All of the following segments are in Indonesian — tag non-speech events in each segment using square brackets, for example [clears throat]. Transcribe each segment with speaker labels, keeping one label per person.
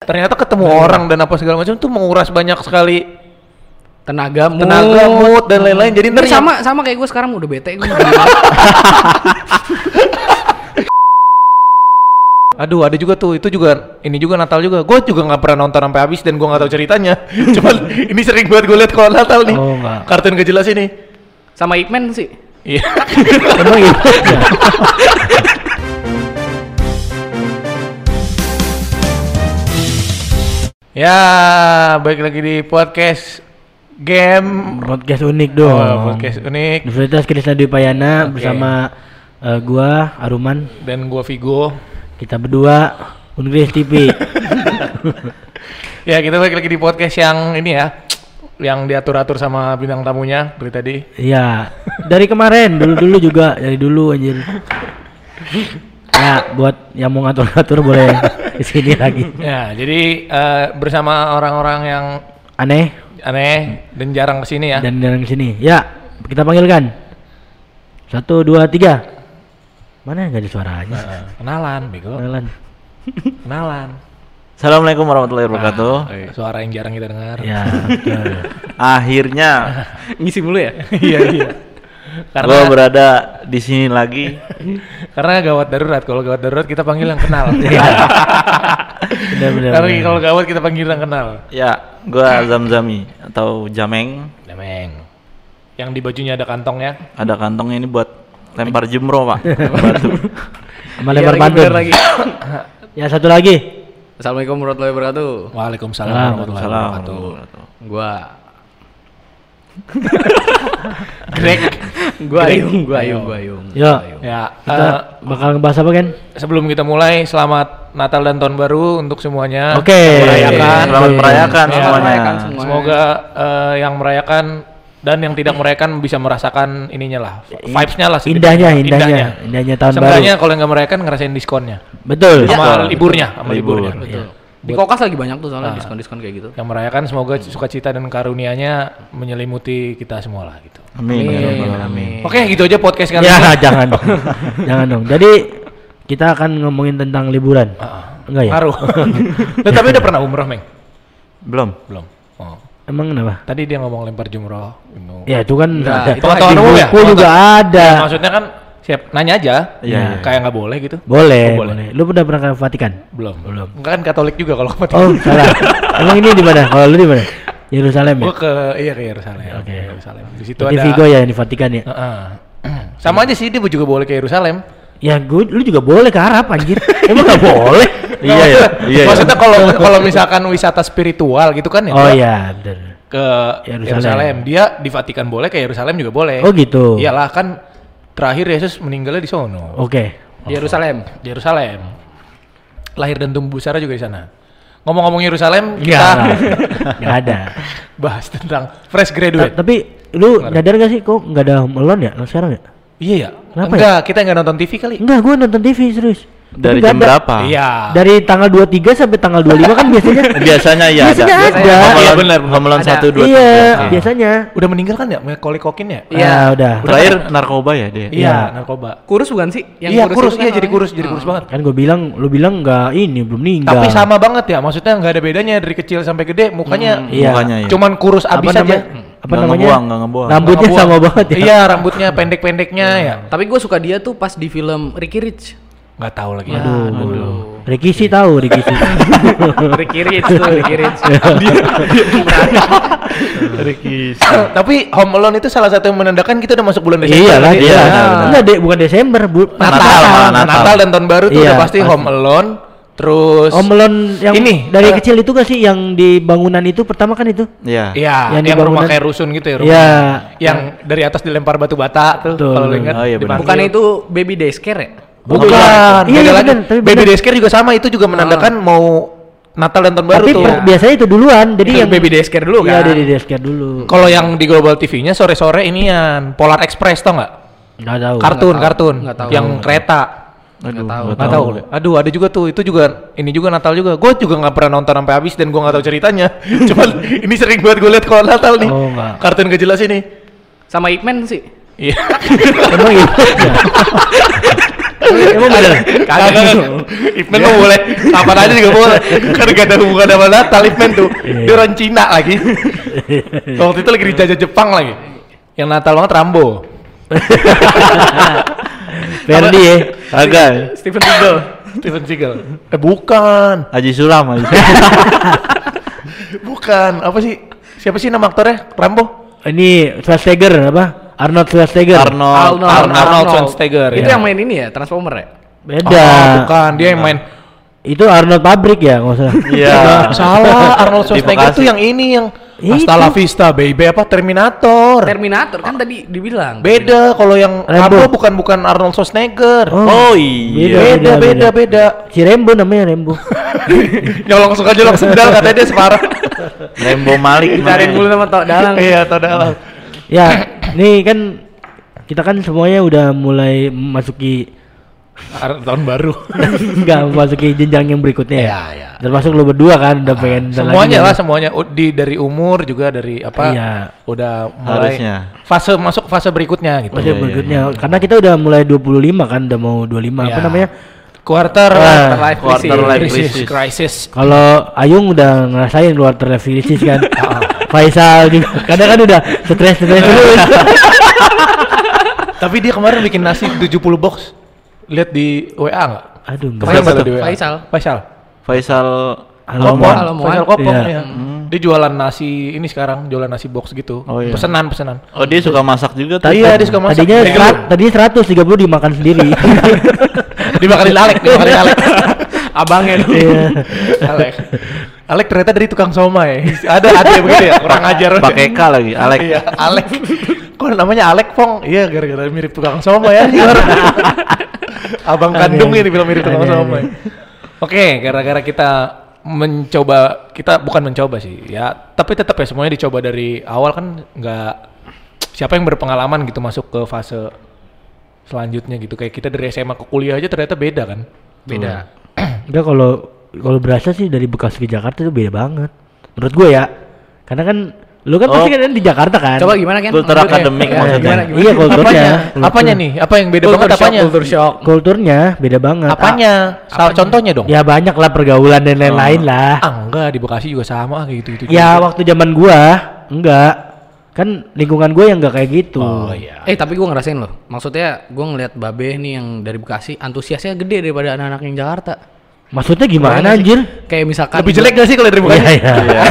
Speaker 1: ternyata ketemu orang dan apa segala macam tuh menguras banyak sekali
Speaker 2: tenaga
Speaker 3: Oh.
Speaker 2: mood,
Speaker 1: tenaga mood dan lain-lain jadi
Speaker 2: Ini
Speaker 1: ntar yang-
Speaker 2: sama sama kayak gue sekarang udah bete gue [laughs]
Speaker 1: aduh ada juga tuh itu juga ini juga Natal juga gue juga nggak pernah nonton sampai habis dan gue nggak tahu ceritanya cuman ini sering banget gue lihat kalau Natal nih
Speaker 3: Oh, nggak.
Speaker 1: kartun gak jelas ini
Speaker 2: sama Ipman sih
Speaker 1: iya [laughs]
Speaker 3: Emang gitu ya?
Speaker 1: ya baik lagi di podcast game
Speaker 3: Podcast unik dong.
Speaker 1: Oh, podcast unik
Speaker 3: Universitas Krishna Dwi Payana bersama eh, gua Aruman.
Speaker 1: dan gue Vigo
Speaker 3: Kita berdua Ungris
Speaker 1: [laughs]
Speaker 3: TV.
Speaker 1: ya kita balik lagi di podcast yang ini ya yang diatur-atur sama bintang tamunya dari tadi
Speaker 3: Iya. Dari kemarin dulu-dulu juga dari dulu anjir. Ya, buat yang mau ngatur-ngatur boleh di sini lagi.
Speaker 1: ya jadi eh, bersama orang-orang yang
Speaker 3: Aneh
Speaker 1: aneh dan jarang kesini ya
Speaker 3: dan dari sini. Ya, kita panggilkan. Satu, dua, tiga. Mana nggak ada suaranya?
Speaker 1: Eh, kenalan bego
Speaker 3: Kenalan.
Speaker 1: kenalan Ah, iya.
Speaker 4: Assalamualaikum
Speaker 1: [laughs]
Speaker 4: warahmatullahi wabarakatuh.
Speaker 1: suara yang jarang kita dengar
Speaker 3: Ya, betul.
Speaker 4: Akhirnya
Speaker 2: ngisi mulu ya
Speaker 1: [laughs] iya iya karena
Speaker 4: gue berada di sini lagi.
Speaker 1: karena gawat darurat kalau gawat darurat kita panggil yang kenal [laughs]
Speaker 3: Benar, benar,
Speaker 1: karena
Speaker 3: benar.
Speaker 1: kalau gawat kita panggil yang kenal
Speaker 4: Ya, gue Zamzami atau Jameng.
Speaker 1: demeng yang di bajunya ada ya? kantongnya
Speaker 4: Ada kantongnya ini buat lempar jumroh pak. Batu.
Speaker 3: Sama
Speaker 1: Iya,
Speaker 3: lempar
Speaker 1: lagi,
Speaker 3: pantun.
Speaker 1: bener lagi.
Speaker 3: Ya, satu lagi.
Speaker 2: [laughs] Assalamualaikum warahmatullahi wabarakatuh
Speaker 1: Waalaikumsalam
Speaker 3: Salam.
Speaker 1: warahmatullahi wabarakatuh.
Speaker 4: Salam.
Speaker 2: gue
Speaker 1: Greg,
Speaker 2: gue ayung gue ayung gue ayung
Speaker 3: Yo.
Speaker 1: ya
Speaker 3: Kita
Speaker 1: eh,
Speaker 3: bakal ngebahas apa kan?
Speaker 1: sebelum kita mulai selamat Natal dan tahun baru untuk semuanya.
Speaker 3: Oke.
Speaker 1: eh, Merayakan.
Speaker 4: Selamat merayakan
Speaker 1: Iya.
Speaker 4: semuanya.
Speaker 2: Merayakan semua.
Speaker 1: Semoga eh, yang merayakan dan yang tidak merayakan bisa merasakan ininya lah, vibes-nya lah.
Speaker 3: Indahnya, indahnya, indahnya tahun
Speaker 1: Seenggaknya
Speaker 3: baru. Ya.
Speaker 1: kalau yang nggak merayakan ngerasain diskonnya,
Speaker 3: Betul.
Speaker 1: sama
Speaker 4: Betul.
Speaker 1: liburnya, sama
Speaker 4: Libur. ya.
Speaker 1: liburnya.
Speaker 2: betul di kokas lagi banyak tuh soalnya diskon diskon kayak gitu
Speaker 1: Yang merayakan semoga sukacita dan karunianya menyelimuti kita semua lah gitu.
Speaker 4: Amin. ya
Speaker 2: Iya,
Speaker 4: Rabbal Alamin.
Speaker 1: Oke, gitu aja podcast kali
Speaker 3: Ya,
Speaker 1: ini.
Speaker 3: [laughs]
Speaker 1: [laughs]
Speaker 3: jangan dong. jangan dong. Jadi kita akan ngomongin tentang liburan.
Speaker 1: Ah,
Speaker 3: Enggak ya?
Speaker 1: Ngaruh. Nah, tapi udah pernah umroh, Meng?
Speaker 4: Belum.
Speaker 1: Belum. Oh.
Speaker 3: Emang kenapa?
Speaker 1: Tadi dia ngomong lempar jumroh. No.
Speaker 3: Ya itu kan
Speaker 2: Nah,
Speaker 3: ada.
Speaker 1: itu pengetahuan
Speaker 3: Di
Speaker 1: umum ya?
Speaker 3: buku juga ada.
Speaker 1: Maksudnya kan siap nanya aja.
Speaker 4: Iya, iya.
Speaker 1: Kayak nggak boleh gitu.
Speaker 3: Boleh,
Speaker 1: Oh, boleh.
Speaker 3: boleh. Lu pernah pernah ke Vatikan?
Speaker 1: Belum. Belum. Enggak kan Katolik juga kalau mati.
Speaker 3: Oh, salah. Emang ini di mana? Kalau lu di mana? Yerusalem ya?
Speaker 1: Gua ke iya ke Yerusalem.
Speaker 3: Oke.
Speaker 1: Ke Yerusalem. Di situ
Speaker 3: Berarti
Speaker 1: ada
Speaker 3: Vigo ya di Vatikan ya?
Speaker 1: Heeh. [clears throat] Sama aja sih dia juga boleh ke Yerusalem.
Speaker 3: Ya gua, lu juga boleh ke Arab anjir. Emang gak boleh?
Speaker 1: [laughs]
Speaker 4: Iya ya. Iya. ya.
Speaker 1: Maksudnya kalau kalau misalkan wisata spiritual gitu kan ya.
Speaker 3: Oh
Speaker 1: dia
Speaker 3: iya, bener.
Speaker 1: Ke
Speaker 3: Yerusalem.
Speaker 1: Yerusalem. Dia di Vatikan boleh, ke Yerusalem juga boleh.
Speaker 3: Oh gitu.
Speaker 1: Iyalah kan terakhir Yesus meninggalnya di sono.
Speaker 3: Oke.
Speaker 2: di Yerusalem
Speaker 1: di Yerusalem. Lahir dan tumbuh besar juga di sana. Ngomong-ngomong Yerusalem,
Speaker 3: Iya.
Speaker 1: kita
Speaker 3: Gak ada.
Speaker 1: [laughs] bahas tentang fresh
Speaker 3: Ta-
Speaker 1: graduate.
Speaker 3: Tapi lu nyadar gak sih kok gak ada Home Alone ya lu sekarang ya?
Speaker 1: iya ya?
Speaker 3: Kenapa
Speaker 1: Enggak, kita nggak nonton TV kali.
Speaker 3: Enggak, gua nonton TV serius. Tapi
Speaker 4: Dari
Speaker 3: nggak
Speaker 4: jam
Speaker 3: ada.
Speaker 4: berapa?
Speaker 1: Iya.
Speaker 3: Dari tanggal 23 sampai tanggal 25 kan biasanya.
Speaker 4: [laughs] Biasanya ya.
Speaker 3: Biasanya ada.
Speaker 1: Iya,
Speaker 4: Iya
Speaker 1: benar,
Speaker 4: benar.
Speaker 1: benar.
Speaker 4: Homeland
Speaker 2: Ada.
Speaker 4: satu dua.
Speaker 3: iya,
Speaker 4: tiga. Ah.
Speaker 3: biasanya.
Speaker 1: Udah meninggal kan ya? Macaulay Culkin ya?
Speaker 2: Iya.
Speaker 3: Ah, udah.
Speaker 4: Terakhir narkoba ya dia.
Speaker 1: Iya, narkoba.
Speaker 2: kurus bukan sih
Speaker 1: iya, kurus,
Speaker 2: itu kan
Speaker 1: iya jadi
Speaker 2: orangnya?
Speaker 1: kurus, jadi kurus banget.
Speaker 3: Kan gua bilang, lu bilang enggak ini belum meninggal.
Speaker 1: Tapi sama banget ya, maksudnya nggak ada bedanya dari kecil sampai gede, mukanya
Speaker 3: Iya.
Speaker 4: Mukanya ya.
Speaker 1: cuman kurus
Speaker 3: apa
Speaker 1: abis
Speaker 3: namanya?
Speaker 1: aja. Hmm.
Speaker 3: Apa
Speaker 4: Nggak
Speaker 3: namanya?
Speaker 4: ngebuang, nggak ngebuang.
Speaker 3: Rambutnya
Speaker 1: Nggak
Speaker 3: sama
Speaker 1: ngebuang.
Speaker 3: banget ya. Hmm.
Speaker 1: Iya, rambutnya pendek-pendeknya ya.
Speaker 2: tapi gue suka dia tuh pas di film Ricky Rich Ah,
Speaker 1: Nggak tahu lagi.
Speaker 3: Aduh. Ricky sih tahu Ricky
Speaker 1: [laughs]
Speaker 3: sih.
Speaker 2: [laughs] Ricky Rich tuh Ricky Rich
Speaker 1: [coughs] Iya. Tapi Home Alone itu salah satu yang menandakan kita udah masuk bulan Desember.
Speaker 3: Iya lah,
Speaker 1: Jadi-
Speaker 3: dia.
Speaker 4: benar, benar.
Speaker 3: Enggak, deh, bukan Desember, bu. pas
Speaker 4: Natal,
Speaker 3: Natal.
Speaker 4: malah
Speaker 1: Natal.
Speaker 4: Natal.
Speaker 1: dan tahun baru tuh
Speaker 3: Iya,
Speaker 1: udah pasti,
Speaker 3: pasti.
Speaker 1: Home Alone, terus
Speaker 3: Om Melon yang
Speaker 1: Ini,
Speaker 3: dari
Speaker 1: eh,
Speaker 3: kecil itu gak sih yang di bangunan itu pertama kan itu?
Speaker 4: Iya.
Speaker 1: Iya, yang,
Speaker 3: Yang di
Speaker 1: rumah
Speaker 3: bangunan.
Speaker 1: kayak rusun gitu ya, rumah.
Speaker 3: Iya.
Speaker 1: Yang dari atas dilempar batu bata tuh
Speaker 3: Betul.
Speaker 1: kalau lu ingat.
Speaker 4: Oh, iya, benar.
Speaker 2: bukan itu baby daycare ya
Speaker 3: Bukan.
Speaker 1: Bukan. beda
Speaker 3: Iya, iya,
Speaker 1: lagi.
Speaker 3: benar, tapi
Speaker 1: baby
Speaker 3: benar.
Speaker 1: Daycare juga sama, itu juga menandakan mau Natal dan tahun baru
Speaker 3: Tapi
Speaker 1: tuh.
Speaker 3: per- biasanya itu duluan, jadi
Speaker 2: Itu
Speaker 3: yang
Speaker 2: baby daycare dulu
Speaker 3: Iya,
Speaker 2: kan?
Speaker 3: dari daycare dulu.
Speaker 1: Kalau yang di Global TV-nya sore-sore inian Polar Express tau nggak?
Speaker 3: Enggak tahu. [laughs]
Speaker 1: Kartun,
Speaker 2: tahu,
Speaker 1: kartun.
Speaker 2: nggak tahu.
Speaker 1: Yang kereta.
Speaker 4: Aduh.
Speaker 2: tahu.
Speaker 4: nggak
Speaker 1: Nggak tahu. Aduh, ada juga tuh. Itu juga ini juga Natal juga. Gue juga nggak pernah nonton sampai habis dan gue nggak tahu ceritanya. Cuman ini sering banget gue lihat kalau Natal nih.
Speaker 3: Oh, nggak.
Speaker 1: Kartun gak jelas ini.
Speaker 2: sama Ipman sih
Speaker 1: Iya.
Speaker 3: Emang itu. ya? Emang bener?
Speaker 1: [laughs]
Speaker 3: Iya.
Speaker 1: Kagak. Ipman mah
Speaker 3: [laughs]
Speaker 1: boleh. Apa aja juga boleh. Kan gak ada hubungan sama Natal Ipman tuh. Dia orang Cina lagi. Waktu itu lagi dijajah Jepang lagi. Yang Natal banget Rambo.
Speaker 3: Ferdi ya.
Speaker 4: Agak.
Speaker 2: [laughs] Steven Seagal.
Speaker 1: Steven Seagal. Eh bukan.
Speaker 4: Haji Sulam, Haji Sulam.
Speaker 1: Bukan. Apa sih? Siapa sih nama aktornya? Rambo?
Speaker 3: Ini Schwarzenegger apa? Arnold Schwarzenegger.
Speaker 4: [laughs] Arnold.
Speaker 1: Arnold. Schwarzenegger,
Speaker 2: Itu
Speaker 1: ya.
Speaker 2: yang main ini ya, Transformer ya?
Speaker 3: Beda.
Speaker 1: Oh, bukan. Dia yang main.
Speaker 3: Itu Arnold pabrik ya, nggak usah. [laughs]
Speaker 4: Iya.
Speaker 1: Salah. Arnold
Speaker 4: Di
Speaker 1: Schwarzenegger
Speaker 4: Bekasi.
Speaker 1: tuh yang ini yang
Speaker 3: Itu.
Speaker 1: Hasta la vista, baby apa Terminator.
Speaker 2: Terminator kan tadi dibilang.
Speaker 1: Beda kalau yang
Speaker 3: Rambo.
Speaker 1: Rambo bukan bukan Arnold Schwarzenegger.
Speaker 4: Oh, iya.
Speaker 1: Beda, beda, beda. [laughs]
Speaker 3: Si Rembo namanya Rembo.
Speaker 1: nyolong suka nyolong sendal katanya dia separah.
Speaker 4: Rembo Malik.
Speaker 2: Dicariin dulu nama Tok Dalang.
Speaker 1: Iya, tau dalam.
Speaker 3: ya, ini kan kita kan semuanya udah mulai [laughs] memasuki
Speaker 1: Tahun baru.
Speaker 3: enggak memasuki jenjang yang berikutnya ya.
Speaker 1: Iya, iya. Ah,
Speaker 3: Termasuk lo berdua kan udah pengen bentar lagi
Speaker 1: semuanya
Speaker 3: nih.
Speaker 1: lah semuanya U- di dari umur juga dari apa
Speaker 3: Iya.
Speaker 1: udah mulai
Speaker 4: Harusnya.
Speaker 1: fase masuk fase berikutnya gitu.
Speaker 3: Masih
Speaker 4: Iya,
Speaker 3: berikutnya. Karena kita udah mulai 25 kan, udah mau 25 apa
Speaker 1: Iya.
Speaker 3: namanya?
Speaker 1: Quarter
Speaker 3: Ah,
Speaker 1: life
Speaker 4: quarter
Speaker 1: crisis.
Speaker 4: life
Speaker 1: crisis.
Speaker 4: crisis.
Speaker 1: crisis.
Speaker 3: Kalau Ayung udah ngerasain luar terrevisis
Speaker 1: [laughs]
Speaker 3: kan.
Speaker 1: Ah,
Speaker 3: Faisal juga. Kadang kan udah stres
Speaker 1: Iya.
Speaker 3: stres
Speaker 1: [laughs]
Speaker 3: terus.
Speaker 1: Tapi dia kemarin bikin nasi 70 box. Lihat di WA enggak?
Speaker 3: Aduh, enggak.
Speaker 1: Kemarin
Speaker 4: Faisal
Speaker 1: baru
Speaker 4: tuh?
Speaker 1: di WA.
Speaker 2: Faisal.
Speaker 1: Faisal.
Speaker 4: Faisal.
Speaker 3: Halo,
Speaker 1: Kopong,
Speaker 3: Mon.
Speaker 2: Halo, Mon.
Speaker 1: Faisal Kopong
Speaker 3: Iya.
Speaker 1: ya. Dia jualan nasi ini sekarang jualan nasi box gitu.
Speaker 4: Oh, iya.
Speaker 1: Pesenan, pesenan.
Speaker 4: Oh, dia suka masak juga tuh.
Speaker 1: Tadi- Iya, dia suka masak.
Speaker 3: Tadinya
Speaker 1: Daging.
Speaker 3: serat- tadinya 130 dimakan sendiri.
Speaker 1: [laughs] Dimakanin Alek, dimakanin Alek.
Speaker 2: Abangnya tuh.
Speaker 3: Iya.
Speaker 1: Alek. Alek ternyata dari tukang somai. Ada ada yang begitu ya,
Speaker 4: [laughs]
Speaker 1: kurang ajar.
Speaker 4: Pakai K lagi, Alek.
Speaker 1: Iya, [laughs] Alek. Kok namanya Alek Pong? Iya, gara-gara mirip tukang somai ya. [laughs] Abang
Speaker 3: Aneh.
Speaker 1: kandungnya dibilang mirip tukang
Speaker 3: Aneh, aneh.
Speaker 1: somai. Oke, gara-gara kita mencoba kita bukan mencoba sih ya tapi tetap ya semuanya dicoba dari awal kan nggak siapa yang berpengalaman gitu masuk ke fase selanjutnya gitu kayak kita dari SMA ke kuliah aja ternyata beda kan
Speaker 2: Beda.
Speaker 3: Enggak kalau kalau berasa sih dari Bekasi ke Jakarta itu beda banget. Menurut gue ya. Karena kan lu kan pasti
Speaker 4: Oh.
Speaker 3: kan di Jakarta kan.
Speaker 2: Coba gimana kan?
Speaker 4: Kultur
Speaker 2: Maksudnya-
Speaker 4: akademik
Speaker 2: Iya,
Speaker 4: maksudnya.
Speaker 2: Gimana gimana?
Speaker 3: Iya, kulturnya.
Speaker 1: apanya apanya nih apa yang beda banget
Speaker 2: shock,
Speaker 1: apanya
Speaker 2: Kultur shock.
Speaker 3: Kulturnya beda banget.
Speaker 1: apanya Salah contohnya dong
Speaker 3: Ah, ya banyak lah pergaulan dan lain-lain lah.
Speaker 1: ah enggak di Bekasi juga sama kayak gitu gitu
Speaker 3: Ya waktu zaman gua enggak. Kan lingkungan gua yang enggak kayak gitu.
Speaker 1: oh iya
Speaker 2: Eh tapi gue ngerasain loh, maksudnya gue ngeliat Babe nih yang dari Bekasi antusiasnya gede daripada anak-anak yang Jakarta.
Speaker 3: Maksudnya gimana
Speaker 2: Kebayang
Speaker 3: anjir?
Speaker 2: nggak sih? Kayak misalkan
Speaker 1: lebih jelek gak sih kalau dari Bekasi
Speaker 3: Iya [laughs] iya.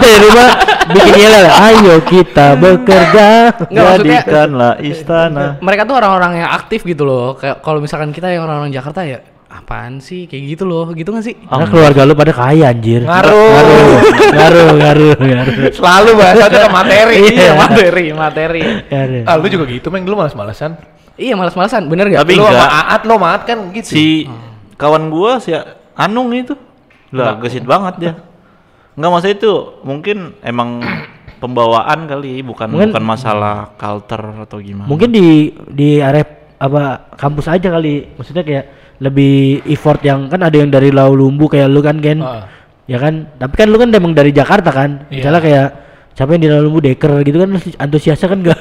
Speaker 3: Itu ya rumah bikin yel ayo kita bekerja.
Speaker 2: Nggak, maksudnya-
Speaker 4: Jadikanlah istana.
Speaker 2: mereka tuh orang-orang yang aktif gitu loh. Kayak kalau misalkan kita yang orang-orang Jakarta ya apaan sih kayak gitu loh, gitu gak sih?
Speaker 3: Karena keluarga lu pada kaya anjir.
Speaker 1: Ngaruh.
Speaker 3: Ngaruh, ngaruh, ngaruh.
Speaker 1: selalu
Speaker 3: [laughs]
Speaker 1: bahasanya ke materi
Speaker 3: Iya.
Speaker 2: materi, materi.
Speaker 3: Ngaruh.
Speaker 1: ah lu juga gitu meng lu malas-malasan
Speaker 2: iya, malas-malasan, bener gak?
Speaker 4: Tapi
Speaker 1: lu sama
Speaker 4: enggak.
Speaker 1: Aat lo maat kan gitu
Speaker 4: Si kawan gua si Anung itu. Lah, gesit banget dia. Enggak masa itu, mungkin emang pembawaan kali, bukan
Speaker 3: Mungkin-
Speaker 4: bukan masalah culture atau gimana.
Speaker 3: Mungkin di di area apa kampus aja kali. Maksudnya kayak lebih effort yang kan ada yang dari Lau Lumbu kayak lu kan Ken.
Speaker 1: Heeh.
Speaker 3: Ya kan? Tapi kan lu kan emang dari Jakarta
Speaker 1: Ah.
Speaker 3: kan.
Speaker 1: Iya.
Speaker 3: Misalnya kayak siapa yang di Lau Lumbu Deker gitu kan pasti antusiasnya kan
Speaker 1: [laughs]
Speaker 3: enggak.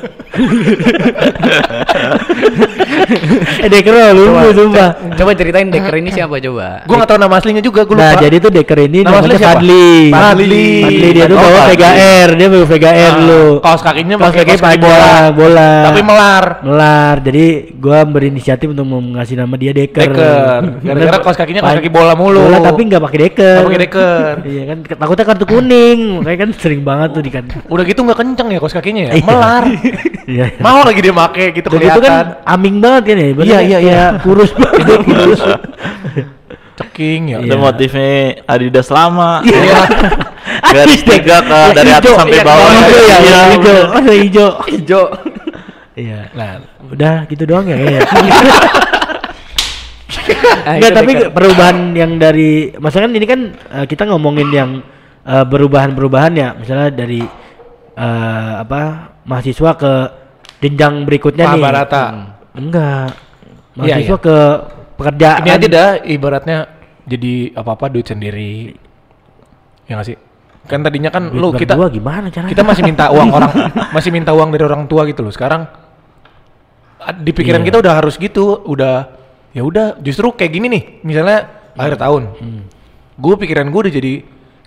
Speaker 3: eh Deker Lau Lumbu sumpah.
Speaker 2: Coba ceritain Deker ini siapa coba?
Speaker 1: gua nggak tahu nama aslinya juga gua lupa
Speaker 3: Nah, jadi tuh Deker ini
Speaker 1: Nama asli
Speaker 3: namanya
Speaker 1: siapa?
Speaker 3: Fadli.
Speaker 1: Fadli.
Speaker 3: Fadli dia tuh
Speaker 4: Oh,
Speaker 3: bawa
Speaker 4: Fadli.
Speaker 3: VGR, dia bawa VGR
Speaker 1: Ah,
Speaker 3: lu.
Speaker 1: kaos kakinya
Speaker 3: Kaos
Speaker 1: pakai
Speaker 3: kaki
Speaker 1: kaos kaki
Speaker 3: bola,
Speaker 1: bola.
Speaker 3: bola.
Speaker 1: tapi melar
Speaker 3: melar jadi gua berinisiatif untuk mau ngasih nama dia deker [laughs]
Speaker 1: Deker. Gara-gara kaos kakinya kaos kaki bola mulu.
Speaker 3: bola tapi nggak pakai deker
Speaker 1: Nggak pakai deker.
Speaker 3: [laughs] iya kan takutnya kartu kuning makanya kan sering banget tuh di kan
Speaker 1: udah gitu nggak kenceng ya kaos kakinya ya
Speaker 3: Iya. [laughs]
Speaker 1: melar
Speaker 3: iya
Speaker 1: mau lagi dia make gitu
Speaker 3: dan itu kan
Speaker 1: kelihatan
Speaker 3: aming banget kan ya
Speaker 1: Iya, iya, iya. [laughs]
Speaker 3: kurus banget kurus
Speaker 1: ceking ya
Speaker 4: Itu
Speaker 3: Iya.
Speaker 4: motifnya Adidas lama.
Speaker 1: [laughs] Iya.
Speaker 4: Garis tiga ke
Speaker 1: eh,
Speaker 4: dari atas sampai bawah.
Speaker 3: Iya, hijau ya
Speaker 4: Iya,
Speaker 3: warna hijau
Speaker 4: bener.
Speaker 3: warna hijau
Speaker 2: Ijo.
Speaker 3: iya
Speaker 1: nah
Speaker 3: udah gitu doang ya kayaknya.
Speaker 1: [laughs]
Speaker 2: Ah,
Speaker 3: Enggak,
Speaker 2: itu
Speaker 3: tapi
Speaker 2: Decker.
Speaker 3: perubahan yang dari maksudnya kan ini kan eh, kita ngomongin yang eh, perubahan-perubahan ya, misalnya dari eh, apa mahasiswa ke jenjang berikutnya nih. Hmm.
Speaker 1: Mahabharata.
Speaker 3: Enggak.
Speaker 1: Iya,
Speaker 3: Mahasiswa
Speaker 1: iya.
Speaker 3: ke pekerjaan.
Speaker 1: ini aja dah ibaratnya jadi apa-apa duit sendiri ya nggak sih kan tadinya kan
Speaker 3: Duit
Speaker 1: lu
Speaker 3: berdua
Speaker 1: kita
Speaker 3: gimana caranya?
Speaker 1: kita masih minta uang orang masih minta uang dari orang tua gitu loh sekarang a- di pikiran
Speaker 3: Iya.
Speaker 1: kita udah harus gitu udah ya udah justru kayak gini nih misalnya akhir tahun gue pikiran gue udah jadi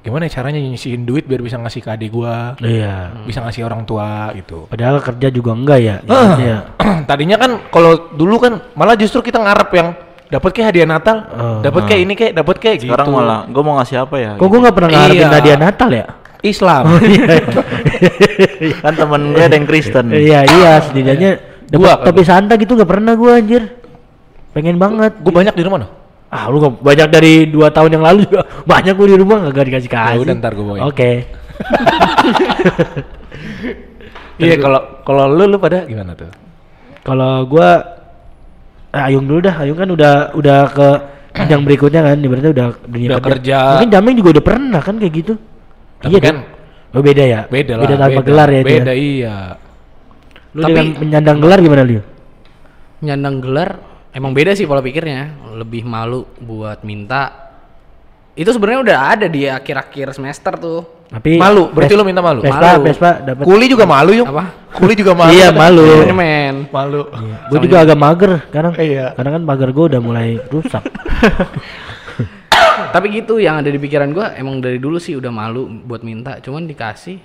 Speaker 1: gimana ya caranya nyisihin duit biar bisa ngasih ke adik gue
Speaker 3: Iya.
Speaker 1: bisa ngasih orang tua gitu
Speaker 3: Padahal kerja juga enggak ya.
Speaker 1: Ah.
Speaker 3: Iya.
Speaker 1: [clears throat] tadinya kan kalau dulu kan malah justru kita ngarep yang dapat kayak hadiah Natal, dapat kayak ini kayak, dapat kayak gitu.
Speaker 4: Sekarang malah gue mau ngasih apa ya?
Speaker 3: Kok gue nggak pernah ngarepin
Speaker 1: Iya. Hmm.
Speaker 3: hadiah Natal ya?
Speaker 2: [laughs]
Speaker 1: Islam.
Speaker 3: [laughs]
Speaker 4: Kan temen gue ada yang Kristen.
Speaker 3: Iya iya setidaknya
Speaker 1: Gua
Speaker 3: dapat
Speaker 1: kali.
Speaker 3: topi Santa gitu nggak pernah gue anjir. Pengen banget.
Speaker 1: gue banyak di rumah noh.
Speaker 3: Ah lu nggak- banyak dari dua tahun yang lalu juga [laughs] banyak gue di rumah nggak dikasih kasih.
Speaker 1: Ya udah, ntar gua bawain.
Speaker 3: Oke.
Speaker 1: Iya kalau kalau lu lu pada gimana tuh?
Speaker 3: Kalau gua eh, Ayung dulu dah. Ayung kan udah udah
Speaker 1: [clears throat]
Speaker 3: ke yang berikutnya kan, ibaratnya udah dunia
Speaker 1: Udah kerja.
Speaker 3: Mungkin Dameng juga udah pernah kan kayak gitu.
Speaker 1: Tapi
Speaker 3: dong.
Speaker 1: kan
Speaker 3: Oh beda ya.
Speaker 1: Beda lah.
Speaker 3: Beda tanpa gelar ya. itu ya?
Speaker 1: Beda iya.
Speaker 3: Lu
Speaker 2: Tapi-
Speaker 3: dengan menyandang gelar gimana Liu?
Speaker 2: nyandang gelar emang beda sih pola pikirnya lebih malu buat minta itu sebenarnya udah ada di akhir-akhir semester tuh
Speaker 3: Tapi
Speaker 1: Malu, berarti
Speaker 3: Pes-
Speaker 1: lu minta malu.
Speaker 3: Vespa,
Speaker 2: Malu.
Speaker 3: Vespa dapat.
Speaker 1: Kuli juga malu yuk.
Speaker 2: Apa?
Speaker 1: Kuli juga malu.
Speaker 3: Iya malu.
Speaker 2: Sebenarnya, men
Speaker 1: Malu.
Speaker 3: Gue juga agak mager sekarang.
Speaker 1: Iya.
Speaker 3: Karena kan pagar gue udah mulai rusak.
Speaker 2: tapi gitu yang ada di pikiran gua emang dari dulu sih udah malu buat minta cuman dikasih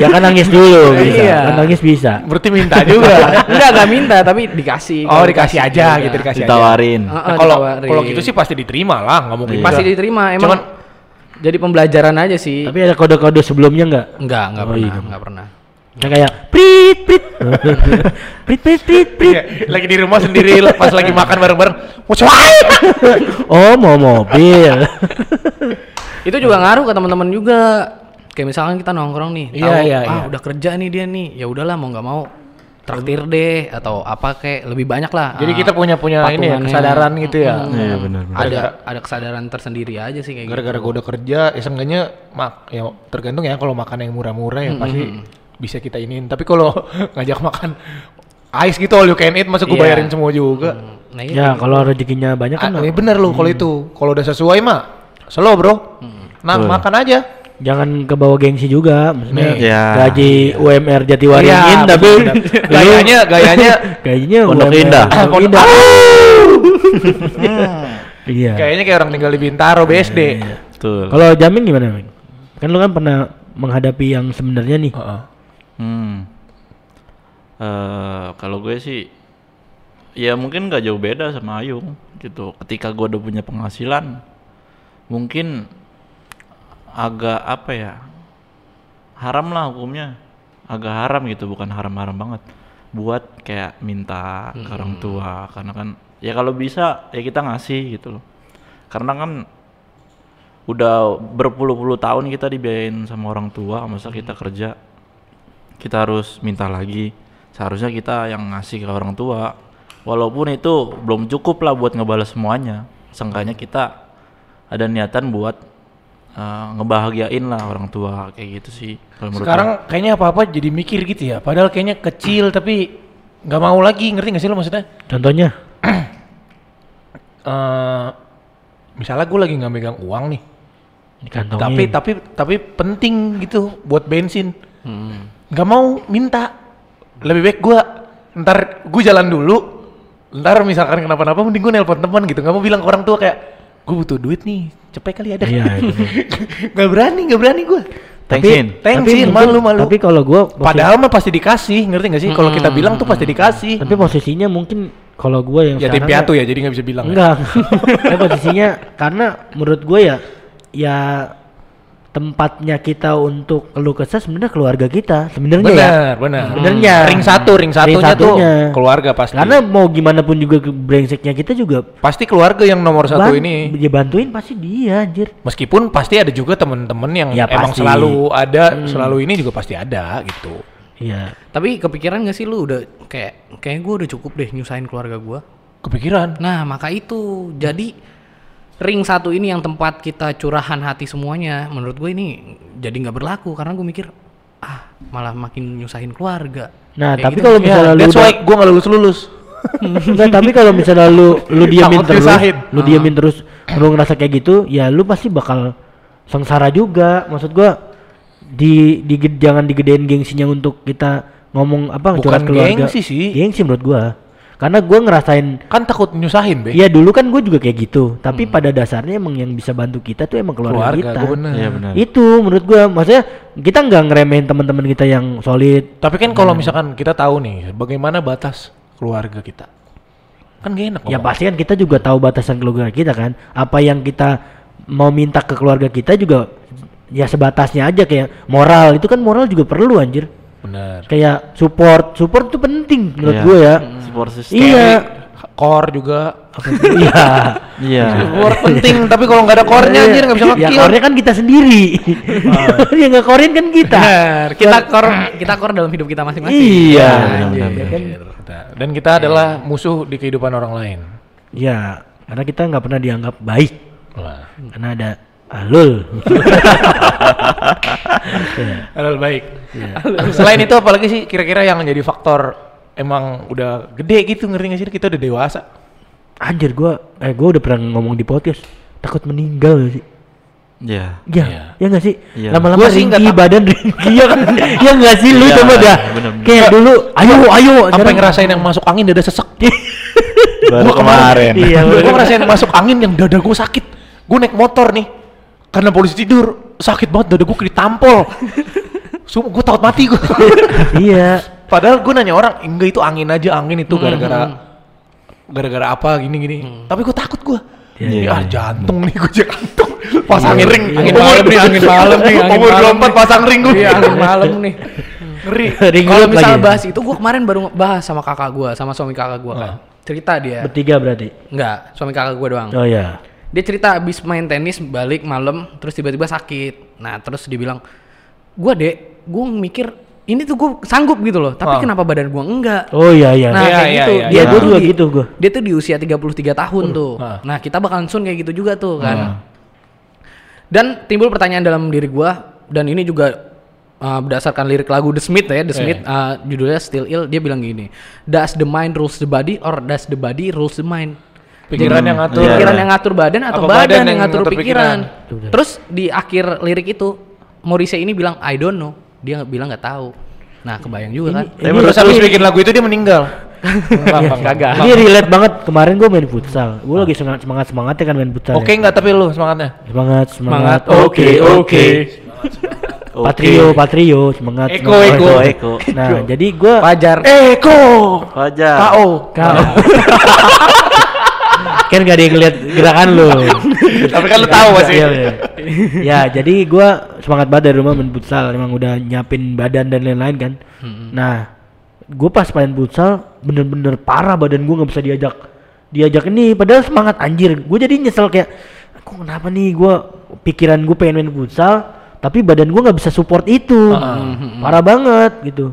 Speaker 3: ya kan nangis dulu bisa.
Speaker 2: Iya.
Speaker 3: Kan nangis bisa.
Speaker 1: Berarti minta
Speaker 2: [laughs]
Speaker 1: juga.
Speaker 2: enggak enggak minta tapi dikasih
Speaker 1: oh dikasih aja
Speaker 2: Iya.
Speaker 1: gitu dikasih aja.
Speaker 4: Ditawarin.
Speaker 2: Heeh,
Speaker 1: Nah, Kalau
Speaker 2: ditawarin.
Speaker 1: kalau gitu sih pasti diterima lah, nggak mungkin
Speaker 4: Iya.
Speaker 2: pasti
Speaker 1: enggak.
Speaker 2: diterima emang
Speaker 1: Cuman-
Speaker 2: jadi pembelajaran aja sih
Speaker 3: Tapi ada kode-kode sebelumnya nggak?
Speaker 2: enggak enggak
Speaker 3: Oh,
Speaker 2: pernah
Speaker 3: iya.
Speaker 2: enggak pernah
Speaker 3: Yang kayak prit prit prit prit prit prit.
Speaker 1: Iya, lagi di rumah sendiri pas lagi makan bareng-bareng. Mau cuai.
Speaker 3: Oh mau mobil.
Speaker 2: itu juga ngaruh ke teman-teman juga kayak misalkan kita nongkrong nih
Speaker 1: Iya,
Speaker 2: tahu
Speaker 1: iya,
Speaker 2: ah
Speaker 1: iya.
Speaker 2: udah kerja nih dia nih ya udahlah mau nggak mau traktir deh atau apa kayak lebih banyak lah
Speaker 1: Jadi
Speaker 2: ah,
Speaker 1: kita punya punya ini ya
Speaker 2: patungannya.
Speaker 1: kesadaran gitu ya. Iya,
Speaker 4: Iya benar. benar.
Speaker 2: ada ada kesadaran tersendiri aja sih kayak gitu
Speaker 1: Gara-gara gue udah kerja, ya seenggaknya mak ya tergantung ya kalau makan yang murah-murah ya pasti bisa kita iniin. Tapi kalau [laughs] ngajak makan ice gitu all you can eat masa gue
Speaker 2: Iya.
Speaker 1: bayarin semua juga.
Speaker 2: nah iya
Speaker 3: ya kalau rezekinya banyak kan
Speaker 1: Ah, ya bener loh kalau itu. Kalau udah sesuai mah slow bro. Nah, makan aja.
Speaker 3: jangan ke bawah gengsi juga maksudnya
Speaker 1: Nih.
Speaker 4: Ya.
Speaker 3: gaji UMR Jatiwaringin
Speaker 1: Iya,
Speaker 3: tapi [laughs] Iya.
Speaker 1: bener. Gayanya gayanya
Speaker 3: gajinya
Speaker 4: Pondok
Speaker 3: UMR
Speaker 4: Indah.
Speaker 3: Pondok
Speaker 1: Pondok-
Speaker 3: Indah. Iya.
Speaker 1: kayaknya kayak orang tinggal di Bintaro BSD.
Speaker 4: Betul.
Speaker 3: Kalau Jamin gimana, Min? Kan lu kan pernah menghadapi yang sebenarnya nih.
Speaker 1: Heeh.
Speaker 4: Hmm. Eh, kalau gue sih ya mungkin nggak jauh beda sama Ayung gitu. Ketika gue udah punya penghasilan mungkin agak apa ya? Haram lah hukumnya. Agak haram gitu, bukan haram-haram banget. Buat kayak minta ke orang tua karena kan ya kalau bisa ya kita ngasih gitu loh. Karena kan udah berpuluh-puluh tahun kita dibiayain sama orang tua, masa kita kerja kita harus minta lagi seharusnya kita yang ngasih ke orang tua walaupun itu belum cukup lah buat ngebalas semuanya seenggaknya kita ada niatan buat eh, ngebahagiain lah orang tua kayak gitu sih kalau menurut
Speaker 1: Sekarang
Speaker 4: gue.
Speaker 1: kayaknya apa-apa jadi mikir gitu ya. Padahal kayaknya kecil tapi nggak mau lagi, ngerti gak sih lo maksudnya?
Speaker 3: Contohnya?
Speaker 1: eh misalnya gue lagi nggak megang uang nih,
Speaker 3: Di kantongnya.
Speaker 1: tapi tapi tapi penting gitu buat bensin,
Speaker 3: Hmm.
Speaker 1: nggak mau minta, lebih baik gue ntar gue jalan dulu, ntar misalkan kenapa-napa mending gue nelpon teman gitu, nggak mau bilang ke orang tua kayak gue butuh duit nih, cepet kali ada,
Speaker 3: Iya, itu dia.
Speaker 1: [laughs] nggak berani nggak berani gue,
Speaker 4: Thanks,
Speaker 3: tapi-
Speaker 4: Hin.
Speaker 1: thanks sih,
Speaker 3: mungkin-
Speaker 1: malu malu,
Speaker 3: Tapi kalau gua posi-
Speaker 1: padahal mah pasti dikasih, ngerti nggak sih? Kalau kita
Speaker 3: Hmm.
Speaker 1: bilang tuh pasti dikasih,
Speaker 3: tapi posisinya mungkin kalau gua yang
Speaker 1: ya tim
Speaker 3: sekarang
Speaker 1: piatu ya, jadi nggak bisa bilang. ya.
Speaker 3: Enggak. [laughs] Tapi posisinya karena menurut gue ya ya tempatnya kita untuk keluh kesah sebenarnya keluarga kita sebenarnya ya.
Speaker 1: Benar, benar.
Speaker 3: Sebenarnya.
Speaker 1: Ring satu, ring satunya tuh
Speaker 3: satunya.
Speaker 1: keluarga pasti.
Speaker 3: Karena mau gimana pun juga ke- brengseknya kita juga
Speaker 1: pasti keluarga yang nomor satu
Speaker 3: ban-
Speaker 1: ini.
Speaker 3: dia bantuin pasti dia anjir.
Speaker 1: Meskipun pasti ada juga temen-temen yang
Speaker 3: Ya,
Speaker 1: emang
Speaker 3: pasti. Hmm.
Speaker 1: selalu ada, selalu ini juga pasti ada gitu.
Speaker 3: Iya.
Speaker 2: tapi kepikiran gak sih lu udah kayak kayak gue udah cukup deh nyusahin keluarga gua
Speaker 1: Kepikiran.
Speaker 2: nah maka itu jadi ring satu ini yang tempat kita curahan hati semuanya menurut gue ini jadi nggak berlaku karena gue mikir ah malah makin nyusahin keluarga
Speaker 3: Nah,
Speaker 2: Kayak
Speaker 3: tapi
Speaker 2: gitu.
Speaker 3: kalau misalnya
Speaker 1: Ya,
Speaker 3: lu
Speaker 1: that's
Speaker 3: udah-
Speaker 1: why gue gak lulus-lulus.
Speaker 3: Enggak, tapi kalau misalnya lu lu diamin
Speaker 1: Takut Ah.
Speaker 3: terus,
Speaker 1: diusahin.
Speaker 3: lu diamin terus, lu ngerasa kayak gitu, ya lu pasti bakal sengsara juga. Maksud gua di, di jangan digedein gengsinya untuk kita ngomong apa
Speaker 1: Bukan
Speaker 3: curhat keluarga.
Speaker 1: gengsi sih.
Speaker 3: Gengsi menurut gua. Karena gue ngerasain
Speaker 1: Kan takut nyusahin, Be.
Speaker 3: Iya dulu kan gue juga kayak gitu, tapi pada dasarnya emang yang bisa bantu kita tuh emang keluarga,
Speaker 1: Hmm. Keluarga,
Speaker 3: kita.
Speaker 1: gua bener.
Speaker 4: Iya benar.
Speaker 3: Itu menurut gue, maksudnya kita nggak ngeremehin teman-teman kita yang solid.
Speaker 1: Tapi kan kalau misalkan kita tahu nih bagaimana batas keluarga kita. Kan gak enak.
Speaker 3: Ya
Speaker 1: ngomong.
Speaker 3: pasti kan kita juga tahu batasan keluarga kita kan. Apa yang kita mau minta ke keluarga kita juga ya sebatasnya aja kayak moral itu kan moral juga perlu anjir.
Speaker 1: Bener.
Speaker 3: Kayak support, support tuh penting menurut
Speaker 4: Iya.
Speaker 3: gue ya.
Speaker 4: Support system.
Speaker 3: Iya.
Speaker 1: Core juga.
Speaker 3: Iya.
Speaker 4: Iya.
Speaker 1: Core penting, tapi kalau nggak ada core-nya anjir nggak bisa
Speaker 3: Ya
Speaker 1: ngekill.
Speaker 3: core kan kita sendiri. [laughs] yang nggak korein kan kita.
Speaker 1: Bener.
Speaker 2: kita kor kita kor dalam hidup kita masing-masing
Speaker 3: Iya.
Speaker 4: benar,
Speaker 3: Ya kan?
Speaker 1: Dan kita
Speaker 3: Iya.
Speaker 1: adalah musuh di kehidupan orang lain.
Speaker 3: Ya, karena kita nggak pernah dianggap baik.
Speaker 1: Wah.
Speaker 3: Karena ada ah, alul.
Speaker 1: Hal baik.
Speaker 4: Iya.
Speaker 1: [laughs] Selain itu apalagi sih kira-kira yang jadi faktor emang udah gede gitu ngeri nggak sih kita udah dewasa.
Speaker 3: [laughs] Anjir gua eh gua udah pernah ngomong di podcast takut meninggal gak sih.
Speaker 4: Iya.
Speaker 3: Ya,
Speaker 1: Iya.
Speaker 3: ya nggak sih?
Speaker 4: Iya.
Speaker 3: Lama-lama
Speaker 1: Gua sih nggak
Speaker 3: ringkih
Speaker 1: tak-
Speaker 3: badan ringkih ya
Speaker 1: [laughs]
Speaker 3: kan? ya nggak sih lu
Speaker 4: Iya,
Speaker 3: coba dah.
Speaker 4: bener-bener.
Speaker 3: Kayak dulu, ayo ayo
Speaker 1: Sampai ngerasain yang masuk angin dada sesek. [laughs]
Speaker 4: Baru kemarin.
Speaker 3: Iya,
Speaker 1: Gue
Speaker 3: bener.
Speaker 1: ngerasain masuk angin yang dada gue sakit. Gue naik motor nih. Karena polisi tidur, sakit banget dada gue kayak [laughs] ditampol. Sumpah gue takut mati gue. [laughs]
Speaker 3: Iya.
Speaker 1: Padahal gue nanya orang, enggak itu angin aja, angin itu gara-gara gara-gara apa gini-gini. Tapi gue takut gue.
Speaker 4: Iya,
Speaker 1: Ini
Speaker 4: iya,
Speaker 1: ah
Speaker 4: iya.
Speaker 1: jantung nih gue jantung. Pas angin ring, angin
Speaker 2: Umur-
Speaker 1: malam nih, angin malam nih, angin
Speaker 2: Umur
Speaker 1: malam
Speaker 2: 24
Speaker 1: nih. pasang ring gue.
Speaker 2: Iya, angin malam nih.
Speaker 1: Ngeri.
Speaker 3: Ring
Speaker 2: Kalau
Speaker 3: loop
Speaker 2: misalnya
Speaker 3: lagi.
Speaker 2: bahas itu, gua kemarin baru bahas sama kakak gua, sama suami kakak gua
Speaker 3: Ah.
Speaker 2: kan. Cerita dia.
Speaker 3: Bertiga berarti.
Speaker 2: Enggak, suami kakak gua doang.
Speaker 3: Oh ya.
Speaker 2: Dia cerita abis main tenis balik malam, terus tiba-tiba sakit. Nah, terus dibilang, gua dek, gua mikir ini tuh gua sanggup gitu loh, tapi
Speaker 1: Ah.
Speaker 2: kenapa badan gua enggak?
Speaker 3: Oh iya iya.
Speaker 2: Nah,
Speaker 1: Iya,
Speaker 2: kayak
Speaker 1: iya,
Speaker 2: gitu.
Speaker 1: iya,
Speaker 3: iya. Gua
Speaker 2: tuh
Speaker 3: juga
Speaker 2: di-
Speaker 3: gitu, gua.
Speaker 2: Dia tuh di usia 33 tahun tuh.
Speaker 1: ah.
Speaker 2: Nah, kita bakalan sun kayak gitu juga tuh kan. Dan timbul pertanyaan dalam diri gua dan ini juga uh, berdasarkan lirik lagu The Smith ya, The Smith uh, judulnya Still Ill, dia bilang gini, "Does the mind rules the body or does the body rules the mind?"
Speaker 1: Pikiran yang ngatur.
Speaker 4: Iya,
Speaker 2: pikiran
Speaker 4: iya.
Speaker 2: yang ngatur badan
Speaker 1: Apa
Speaker 2: atau badan,
Speaker 1: badan
Speaker 2: yang,
Speaker 1: yang
Speaker 2: ngatur
Speaker 1: ngatur
Speaker 2: pikiran.
Speaker 1: pikiran?
Speaker 2: Terus di akhir lirik itu Morrissey ini bilang I don't know. Dia nggak- bilang nggak tahu. Nah, kebayang juga kan.
Speaker 1: Tapi terus habis bikin lagu itu dia meninggal. Gampang
Speaker 2: Kagak.
Speaker 3: Iya. Ini relate banget. Kemarin gua main futsal. Gua lagi semangat semangat semangatnya kan main futsal. ya.
Speaker 1: Oke nggak tapi lu semangatnya?
Speaker 3: Semangat semangat. Oh,
Speaker 4: Oke, oke. Oke.
Speaker 3: Patrio patrio semangat.
Speaker 1: Eko,
Speaker 3: semangat.
Speaker 1: Eko.
Speaker 4: Eko.
Speaker 3: Nah jadi gua
Speaker 2: Wajar.
Speaker 1: Eh.
Speaker 2: Nah,
Speaker 1: Eko.
Speaker 4: Fajar.
Speaker 1: KO.
Speaker 3: kau. kan gak ada yang ngeliat gerakan lu.
Speaker 1: Tapi kan lu tahu pasti.
Speaker 3: Iya, iya. ya, jadi gua semangat banget dari rumah main futsal, emang udah nyiapin badan dan lain-lain kan.
Speaker 1: Hmm.
Speaker 3: Nah, gue pas main futsal bener-bener parah badan gua nggak bisa diajak diajak ini padahal semangat anjir gue jadi nyesel kayak aku kenapa nih gua pikiran gue pengen main futsal tapi badan gua nggak bisa support itu
Speaker 1: Ah.
Speaker 3: parah banget gitu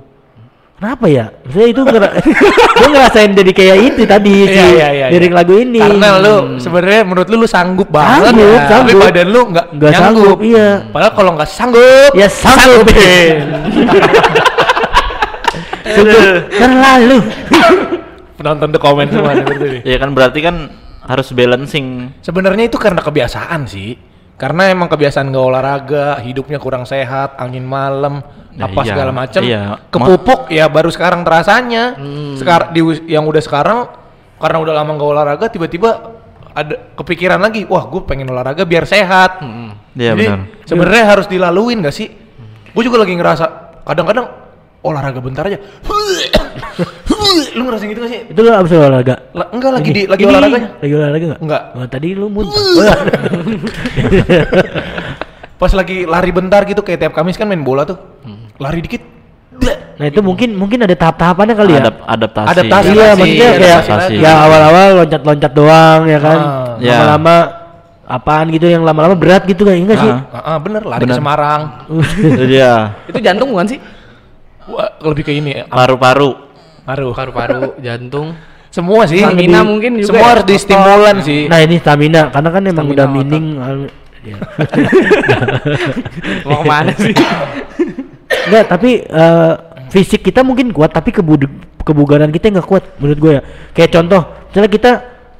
Speaker 3: kenapa ya maksudnya itu ngera [laughs] gue ngerasain jadi kayak itu tadi si
Speaker 1: Iya, iya, iya,
Speaker 3: lirik
Speaker 1: iya.
Speaker 3: lagu ini Hmm.
Speaker 1: Karena lu sebenarnya menurut lu lu sanggup banget
Speaker 3: Sanggup,
Speaker 1: ya. Tapi
Speaker 3: sanggup.
Speaker 1: badan lu nggak
Speaker 3: Nggak sanggup, iya.
Speaker 1: Padahal kalau nggak sanggup,
Speaker 3: Ya sanggup [laughs] Sungguh terlalu
Speaker 1: penonton the comment semua seperti ini.
Speaker 4: Ya kan berarti kan harus balancing.
Speaker 1: Sebenarnya itu karena kebiasaan sih. Karena emang kebiasaan nggak olahraga, hidupnya kurang sehat, angin malam,
Speaker 3: Nah,
Speaker 4: Ya,
Speaker 1: apa
Speaker 4: iya.
Speaker 1: segala macam,
Speaker 4: Iya.
Speaker 1: kepupuk ya baru sekarang terasanya.
Speaker 3: Hmm.
Speaker 1: Sekar di us- yang udah sekarang karena udah lama nggak olahraga, tiba-tiba ada kepikiran lagi, wah gue pengen olahraga biar sehat.
Speaker 3: Hmm.
Speaker 4: Iya
Speaker 1: Jadi
Speaker 4: benar.
Speaker 1: sebenarnya harus dilaluin gak sih? Gue juga lagi ngerasa kadang-kadang olahraga bentar aja. [coughs] lu ngerasain gitu gak sih?
Speaker 3: Itu lo abis olahraga
Speaker 1: La- enggak lagi
Speaker 3: Ini,
Speaker 1: di lagi
Speaker 3: ini,
Speaker 1: olahraganya.
Speaker 3: Lagi olahraga gak?
Speaker 1: Enggak.
Speaker 3: Oh, tadi lu muntah
Speaker 1: Pas lagi lari bentar gitu kayak tiap Kamis kan main bola tuh. Lari dikit. [laughs]
Speaker 3: Nah itu mungkin mungkin ada tahap-tahapannya kali ya
Speaker 4: Adap- adaptasi.
Speaker 1: Adaptasi.
Speaker 3: Iya
Speaker 1: Adaptasi,
Speaker 3: maksudnya kayak
Speaker 4: adaptasi.
Speaker 3: Ya awal-awal loncat-loncat doang ya kan
Speaker 1: Ah.
Speaker 4: Ya.
Speaker 3: Lama-lama Apaan gitu yang lama-lama berat gitu kan Enggak sih
Speaker 4: Ah.
Speaker 1: Ah, ah, bener lari ke
Speaker 4: Bener.
Speaker 1: Semarang.
Speaker 4: Iya.
Speaker 2: Itu jantung bukan sih?
Speaker 1: Wah, lebih ke ini ya.
Speaker 4: Paru-paru.
Speaker 1: Aduh.
Speaker 2: Paru-paru, jantung.
Speaker 1: Semua sih.
Speaker 2: Stamina
Speaker 1: Lebih-
Speaker 2: mungkin juga
Speaker 1: Semua
Speaker 2: ya.
Speaker 1: harus distimulan sih.
Speaker 3: Nah ini stamina Karena kan emang
Speaker 2: Stamina
Speaker 3: udah
Speaker 2: otak.
Speaker 3: mining al- Iya.
Speaker 2: [laughs] Mau kemana sih?
Speaker 3: Enggak, tapi eh, fisik kita mungkin kuat, tapi kebudu- kebugaran kita nggak kuat menurut gue ya. Kayak contoh, misalnya kita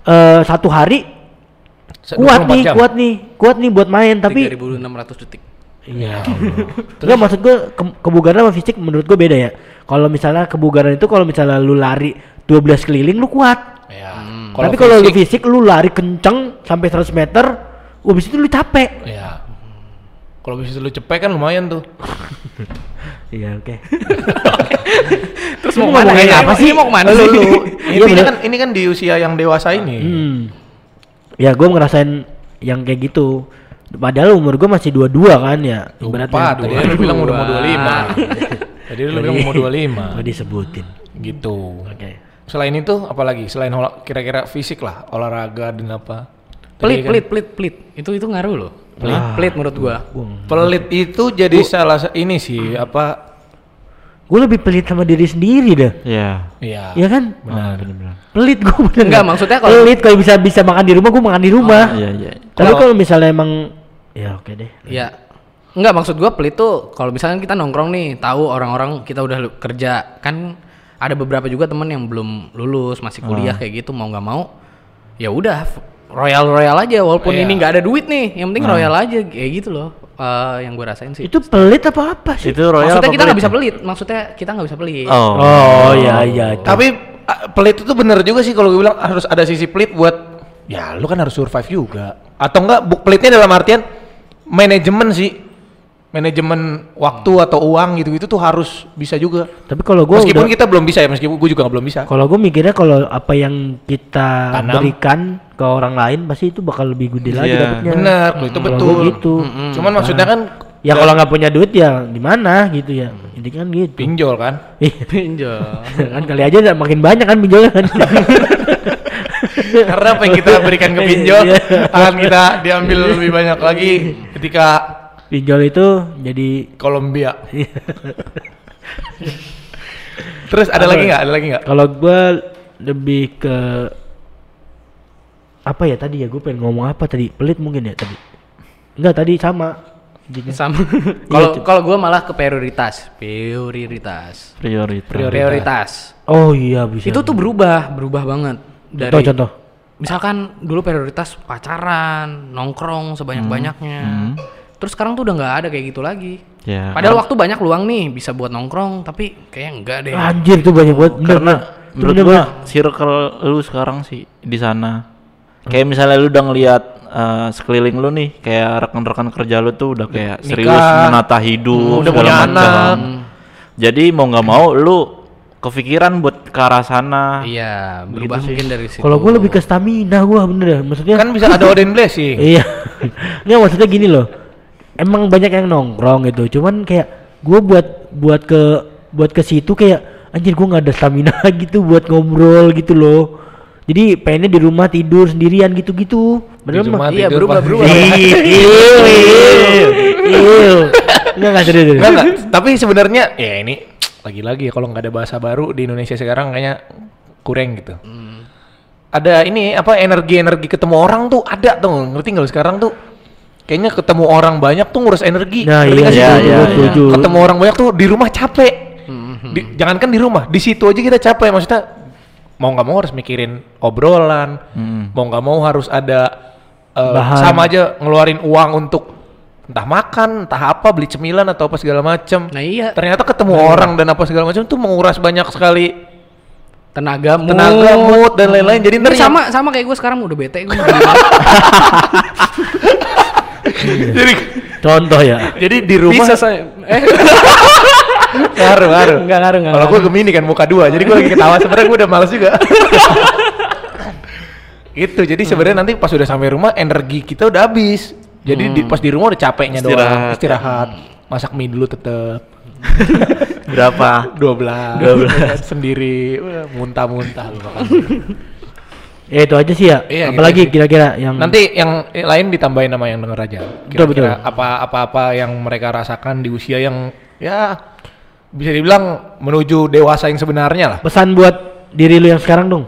Speaker 3: eh, satu hari
Speaker 1: Se- 24
Speaker 3: kuat nih,
Speaker 1: jam.
Speaker 3: kuat nih, kuat nih buat main, tapi
Speaker 2: 3600 detik.
Speaker 3: Iya. Enggak maksud gue ke- kebugaran sama fisik menurut gue beda ya. Kalau misalnya kebugaran itu kalau misalnya lu lari 12 keliling lu kuat.
Speaker 1: Ya.
Speaker 3: Tapi kalau lu fisik lu lari kenceng sampai 100 meter, habis itu lu capek.
Speaker 1: ya. Kalau bisa lu cepet kan lumayan tuh.
Speaker 3: Iya, oke.
Speaker 2: Terus
Speaker 3: Lu
Speaker 2: mau kemana?
Speaker 3: ngomongin
Speaker 2: Ini
Speaker 3: apa sih?
Speaker 2: Ini mau kemana
Speaker 3: Lu-
Speaker 1: [laughs]
Speaker 2: sih?
Speaker 3: lu- Iya,
Speaker 1: Intinya
Speaker 3: bener.
Speaker 1: kan ini kan di usia yang dewasa ini.
Speaker 3: Hmm. Ya gue ngerasain yang kayak gitu. Padahal umur gue masih 22 kan ya.
Speaker 1: Lupa, tadi lu bilang udah mau [laughs] 25. Tadi lu bilang mau
Speaker 3: [laughs] Gue
Speaker 1: 25.
Speaker 3: Iya. disebutin.
Speaker 1: Gitu.
Speaker 3: Oke.
Speaker 1: Selain itu apalagi? Selain olah- kira-kira fisik lah, olahraga dan apa? Tadi
Speaker 2: Pelit,
Speaker 1: kan-
Speaker 2: pelit, pelit, pelit. Itu itu ngaruh loh. Pelit, pelit menurut gua.
Speaker 3: Gue
Speaker 1: Pelit itu jadi salah sa- ini sih apa?
Speaker 3: gue lebih pelit sama diri sendiri dah.
Speaker 4: Iya.
Speaker 1: Iya.
Speaker 3: Iya kan?
Speaker 4: Benar, benar.
Speaker 3: Pelit gue bener
Speaker 2: Enggak,
Speaker 3: nggak?
Speaker 2: maksudnya kalau-
Speaker 3: pelit kalau bisa bisa makan di rumah gue makan di rumah.
Speaker 4: Iya, iya.
Speaker 3: Tapi
Speaker 2: Kalau-
Speaker 3: kalau misalnya emang ya oke deh.
Speaker 2: Iya. Enggak maksud gua pelit tuh kalau misalnya kita nongkrong nih, tahu orang-orang kita udah lu- kerja, kan ada beberapa juga temen yang belum lulus, masih kuliah kayak gitu mau nggak mau. Ya udah f- royal-royal aja walaupun
Speaker 1: Iya.
Speaker 2: ini nggak ada duit nih, yang penting royal aja kayak gitu loh. eh, yang gua rasain sih.
Speaker 3: Itu pelit apa apa sih?
Speaker 4: Itu royal
Speaker 2: maksudnya
Speaker 4: apa
Speaker 2: kita nggak bisa
Speaker 4: pelit?
Speaker 2: pelit, maksudnya kita nggak bisa pelit.
Speaker 4: Oh.
Speaker 3: Oh iya iya. itu.
Speaker 1: Tapi a- pelit itu bener juga sih kalau gue bilang harus ada sisi pelit buat ya lu kan harus survive juga. Atau enggak bu- pelitnya dalam artian manajemen sih. Manajemen waktu
Speaker 3: Hmm.
Speaker 1: atau uang gitu-gitu tuh harus bisa juga.
Speaker 3: Tapi kalau gue udah
Speaker 1: meskipun kita belum bisa ya, meskipun gue juga belum bisa.
Speaker 3: kalau gue mikirnya kalau apa yang kita
Speaker 1: Tanam.
Speaker 3: berikan ke orang lain pasti itu bakal lebih gede lagi
Speaker 4: Iya.
Speaker 3: dapetnya.
Speaker 1: Bener, kalau itu
Speaker 3: Ya. Kalau gua
Speaker 1: betul.
Speaker 3: gitu.
Speaker 1: Mm-mm. Cuman maksudnya kan
Speaker 3: Ya kalau nggak punya duit ya gimana gitu ya. Jadi kan gitu.
Speaker 1: pinjol
Speaker 3: [laughs]
Speaker 1: kan.
Speaker 3: Iya.
Speaker 2: [laughs] Pinjol.
Speaker 3: kan kali aja udah makin banyak kan pinjolnya kan.
Speaker 1: Karena apa yang kita berikan ke pinjol
Speaker 3: Iya.
Speaker 1: akan kita diambil lebih banyak lagi ketika
Speaker 3: pinjol itu jadi
Speaker 1: Kolombia.
Speaker 3: Iya.
Speaker 1: Terus ada lagi nggak? Ada lagi nggak?
Speaker 3: Kalau gue lebih ke apa ya tadi ya gue pengen ngomong apa tadi pelit mungkin ya tadi enggak tadi sama Jadinya.
Speaker 2: Ya,
Speaker 1: [laughs]
Speaker 2: Sama.
Speaker 1: Iya, gitu.
Speaker 2: Kalau kalau gua malah ke prioritas, prioritas.
Speaker 4: Prioritas.
Speaker 2: prioritas.
Speaker 3: oh iya bisa
Speaker 2: Itu tuh berubah, berubah banget dari
Speaker 3: contoh contoh
Speaker 2: misalkan dulu prioritas pacaran, nongkrong sebanyak-banyaknya.
Speaker 1: Hmm,
Speaker 2: Terus sekarang tuh udah nggak ada kayak gitu lagi.
Speaker 4: Ya.
Speaker 2: Padahal waktu banyak luang nih bisa buat nongkrong, tapi kayaknya enggak deh.
Speaker 1: Ah.
Speaker 3: anjir tuh banyak banget bener,
Speaker 4: karena
Speaker 3: bener.
Speaker 4: menurut
Speaker 3: Itu bener
Speaker 4: gua
Speaker 3: banget.
Speaker 4: circle lu sekarang sih di sana kayak misalnya lu udah ngelihat eh, sekeliling lu nih kayak rekan-rekan kerja lu tuh udah
Speaker 1: Nikah.
Speaker 4: kayak serius menata hidup
Speaker 1: Udah punya
Speaker 4: segala macam.
Speaker 1: anak.
Speaker 4: jadi mau nggak mau lu kepikiran buat ke arah sana
Speaker 2: Iya,
Speaker 1: Gitu
Speaker 2: berubah mungkin dari situ.
Speaker 3: kalau gue lebih ke stamina gue bener ya maksudnya
Speaker 1: Kan bisa
Speaker 3: [laughs]
Speaker 1: ada Odin Blessing.
Speaker 3: iya nggak maksudnya gini loh emang banyak yang nongkrong gitu cuman kayak gue buat buat ke buat ke situ kayak anjir gue nggak ada stamina [laughs] gitu buat ngobrol gitu loh jadi pengennya di rumah tidur sendirian gitu-gitu bener
Speaker 1: Di rumah
Speaker 3: mah
Speaker 2: Iya,
Speaker 1: tidur,
Speaker 2: berubah,
Speaker 1: Pak.
Speaker 2: berubah.
Speaker 3: Ih, iu, iu, iu. Iya. nggak nggak serius serius.
Speaker 1: Enggak, enggak. Tapi sebenarnya ya ini lagi-lagi ya kalau nggak ada bahasa baru di Indonesia sekarang kayaknya kurang gitu. Ada ini apa energi-energi ketemu orang tuh ada tuh ngerti nggak lu sekarang tuh kayaknya ketemu orang banyak tuh ngurus energi.
Speaker 3: nah
Speaker 1: ngerti
Speaker 3: iya
Speaker 1: nggak sih?
Speaker 3: iya iya
Speaker 4: Iya, iya.
Speaker 3: setuju
Speaker 1: Ketemu orang banyak tuh di rumah capek.
Speaker 2: Hmm.
Speaker 1: Di, jangankan di rumah, di situ aja kita capek maksudnya mau nggak mau harus mikirin obrolan, mau nggak mau harus ada eh,
Speaker 3: Bahan.
Speaker 1: sama aja ngeluarin uang untuk entah makan, entah apa beli cemilan atau apa segala macem.
Speaker 2: Nah, iya.
Speaker 1: Ternyata ketemu orang dan apa segala macam tuh menguras banyak sekali
Speaker 2: tenaga mood.
Speaker 1: tenaga, mood dan lain-lain. Jadi ntar
Speaker 2: Ini
Speaker 1: ya-
Speaker 2: sama sama kayak gue sekarang udah
Speaker 1: [laughs]
Speaker 2: bete gue.
Speaker 1: [laughs] jadi
Speaker 3: contoh ya
Speaker 1: jadi di rumah
Speaker 2: Bisa saya. Eh,
Speaker 1: ngaruh ngaruh.
Speaker 2: Nggak ngaruh, nggak
Speaker 1: Kalau gue gemini kan muka dua, jadi gue lagi ketawa sebenarnya gue udah males juga. [laughs] gitu, jadi
Speaker 2: Hmm.
Speaker 1: sebenarnya nanti pas udah sampai rumah energi kita udah habis. Jadi di,
Speaker 2: Hmm.
Speaker 1: pas di rumah udah capeknya doang,
Speaker 4: Istirahat.
Speaker 1: istirahat, masak mie dulu tetep
Speaker 4: berapa
Speaker 1: 12,
Speaker 4: 12.
Speaker 1: [laughs] sendiri Wah, muntah-muntah lu makan.
Speaker 2: Hmm.
Speaker 3: ya itu aja sih ya
Speaker 1: Iya, gitu
Speaker 3: apalagi
Speaker 1: sih.
Speaker 3: kira-kira yang
Speaker 1: Nanti yang lain ditambahin nama yang denger aja.
Speaker 3: Betul, betul.
Speaker 1: Kira-kira apa apa-apa yang mereka rasakan di usia yang ya bisa dibilang menuju dewasa yang sebenarnya lah.
Speaker 3: pesan buat diri lu yang sekarang dong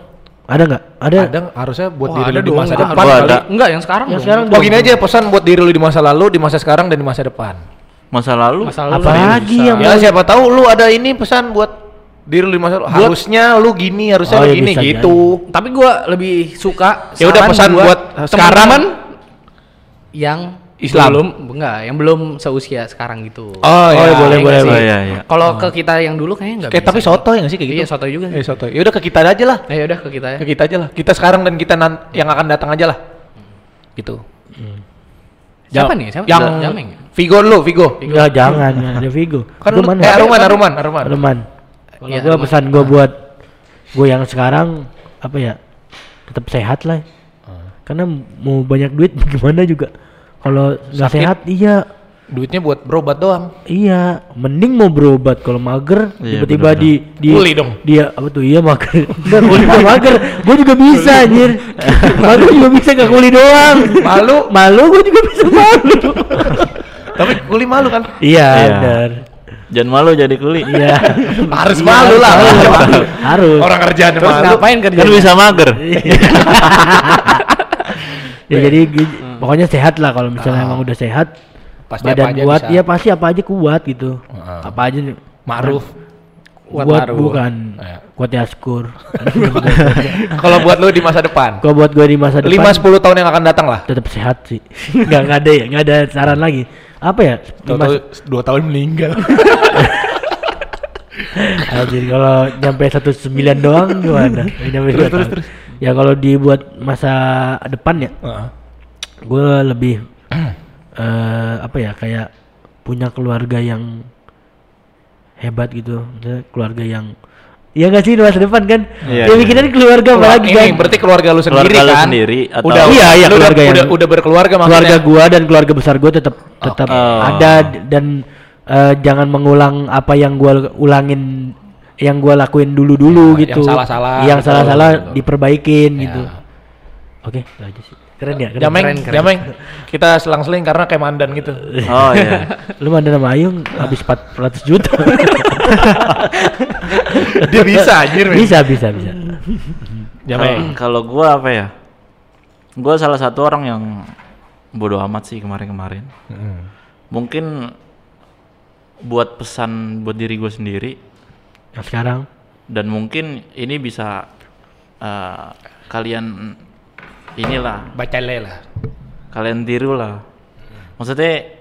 Speaker 3: ada nggak ada
Speaker 1: Oh, ada Kan harusnya buat
Speaker 2: Wah,
Speaker 1: diri
Speaker 2: ada
Speaker 1: lu di
Speaker 2: dong,
Speaker 1: masa
Speaker 2: nggak
Speaker 1: depan
Speaker 4: harus.
Speaker 1: kali.
Speaker 4: Ada.
Speaker 2: enggak yang sekarang.
Speaker 3: Yang
Speaker 2: dong.
Speaker 3: sekarang
Speaker 1: Oh gini aja pesan buat diri lu di masa lalu, di masa sekarang dan di masa depan.
Speaker 4: masa lalu
Speaker 2: Masa lalu
Speaker 3: apalagi
Speaker 2: Iya,
Speaker 3: yang
Speaker 1: Ya siapa tahu lu ada ini pesan buat diri lu di masa lalu. Harusnya lu gini, harusnya lu
Speaker 3: Oh, ya
Speaker 1: gini
Speaker 3: bisa
Speaker 1: gitu.
Speaker 2: Tapi gue lebih suka
Speaker 1: Ya udah
Speaker 2: saran
Speaker 1: pesan buat sekarang.
Speaker 2: teman-teman yang
Speaker 1: Islam.
Speaker 2: Belum, enggak, yang belum seusia sekarang gitu.
Speaker 1: Oh,
Speaker 3: iya, boleh,
Speaker 2: iya
Speaker 3: boleh,
Speaker 2: nggak sih?
Speaker 4: boleh. Iya, iya.
Speaker 2: Kalau ke kita yang dulu kayaknya enggak
Speaker 1: Kayak Oh. tapi soto ya nggak sih kayak gitu?
Speaker 2: Iya, soto juga.
Speaker 1: Eh, soto. Ya udah ke kita aja lah.
Speaker 2: Ayo udah ke kita ya.
Speaker 1: Ke kita aja lah. Kita sekarang dan kita nan- yang akan datang aja lah. Gitu.
Speaker 2: Siapa
Speaker 1: Yang-
Speaker 2: nih? Siapa?
Speaker 1: Yang
Speaker 2: Jameng.
Speaker 1: Vigo dulu, Vigo.
Speaker 3: Enggak, Ya, jangan. nggak Ada Vigo.
Speaker 1: [laughs] Kan
Speaker 3: Itu
Speaker 1: lu-
Speaker 3: mana?
Speaker 1: eh, Aruman, Aruman, Aruman.
Speaker 3: Leman. Kalau
Speaker 2: Iya,
Speaker 3: Ya, gua
Speaker 2: Leman.
Speaker 3: pesan gua buat gua yang sekarang apa ya? Tetap sehat lah.
Speaker 1: Ah.
Speaker 3: Karena mau banyak duit [laughs] gimana juga. Kalau nggak
Speaker 1: Sakit.
Speaker 3: sehat, iya,
Speaker 1: Duitnya buat berobat doang.
Speaker 3: iya. Mending mau berobat kalau mager
Speaker 4: Iya,
Speaker 3: tiba-tiba
Speaker 4: benar-benar.
Speaker 3: di di
Speaker 1: Kuli dong.
Speaker 3: Dia apa tuh? Iya mager.
Speaker 1: [laughs]
Speaker 3: Enggak kuli juga mager. Gua juga bisa anjir. mager juga bisa nggak kuli doang.
Speaker 1: Malu.
Speaker 3: malu gua juga bisa malu.
Speaker 1: Tapi kuli malu kan?
Speaker 3: iya,
Speaker 4: Iya.
Speaker 3: benar.
Speaker 4: Jangan malu jadi kuli.
Speaker 3: Iya.
Speaker 1: Harus malu lah. [laughs]
Speaker 3: Harus. Harus.
Speaker 1: Orang kerjaan
Speaker 2: Terus ngapain kerja?
Speaker 4: Kan bisa mager.
Speaker 3: Iya. [laughs] ya jadi gi- pokoknya sehat lah kalau misalnya emang udah sehat
Speaker 1: Hmm. Ah. Pasti apa
Speaker 3: badan
Speaker 1: aja
Speaker 3: kuat
Speaker 1: bisa. Ah.
Speaker 3: ya pasti apa aja kuat gitu
Speaker 1: Heeh.
Speaker 3: apa aja nih,
Speaker 1: Maruf.
Speaker 2: Kuat
Speaker 3: kuat,
Speaker 2: maruf.
Speaker 3: bukan
Speaker 1: Iya.
Speaker 3: kuat ya, yaskur
Speaker 1: Kalau buat lu di masa depan.
Speaker 3: kalau buat gue
Speaker 1: [laughs]
Speaker 3: di masa depan
Speaker 1: 5 10 tahun yang akan datang lah.
Speaker 3: tetap sehat sih [laughs] nggak nggak ada ya nggak ada saran lagi apa ya di
Speaker 1: Tahu-tahu
Speaker 3: mas-
Speaker 1: dua tahun meninggal.
Speaker 3: Anjir, kalau nyampe 109 doang gimana
Speaker 1: [laughs]
Speaker 3: nyampe
Speaker 1: Terus,
Speaker 3: dua
Speaker 1: terus,
Speaker 3: tahun.
Speaker 1: terus.
Speaker 3: ya kalau dibuat masa depan ya
Speaker 1: Heeh.
Speaker 3: gue lebih [clears throat] eh apa ya kayak punya keluarga yang hebat gitu Maksudnya keluarga yang ya nggak sih di masa depan kan ya
Speaker 4: Iya, iya.
Speaker 3: pikiran keluarga apa
Speaker 1: Keluar-
Speaker 3: lagi kan
Speaker 1: ini berarti keluarga lu sendiri
Speaker 4: Keluarga lu
Speaker 1: kan?
Speaker 4: sendiri atau-
Speaker 1: udah,
Speaker 3: Iya, iya,
Speaker 1: lu udah,
Speaker 3: keluarga yang-
Speaker 1: udah, udah berkeluarga
Speaker 3: keluarga
Speaker 1: maksudnya.
Speaker 3: gua dan keluarga besar gua tetap tetap
Speaker 4: Oh.
Speaker 3: ada d- dan eh, jangan mengulang apa yang gua ulangin yang gua lakuin dulu dulu
Speaker 1: Ya, yang
Speaker 3: gitu
Speaker 1: salah-salah
Speaker 3: yang
Speaker 1: gitu.
Speaker 3: salah-salah
Speaker 1: Betul. Iya.
Speaker 3: diperbaikin gitu oke itu aja sih keren ya keren.
Speaker 1: Jameng,
Speaker 2: Keren, keren.
Speaker 1: jameng. Kita selang-seling karena kayak mandan gitu.
Speaker 4: Oh [laughs] iya.
Speaker 3: lu mana nama Ayung habis 400 juta
Speaker 1: [laughs] [laughs] Dia bisa
Speaker 3: Iya,
Speaker 1: Oh. anjir. men.
Speaker 3: bisa bisa bisa
Speaker 1: Jameng.
Speaker 4: Kalau gua apa ya? Gua salah satu orang yang bodoh amat sih kemarin-kemarin.
Speaker 1: Heeh.
Speaker 4: Mungkin buat pesan buat diri gue sendiri
Speaker 3: yang Nah, sekarang
Speaker 4: dan mungkin ini bisa eh, kalian inilah
Speaker 1: Baca le lah.
Speaker 4: kalian tiru lah. Maksudnya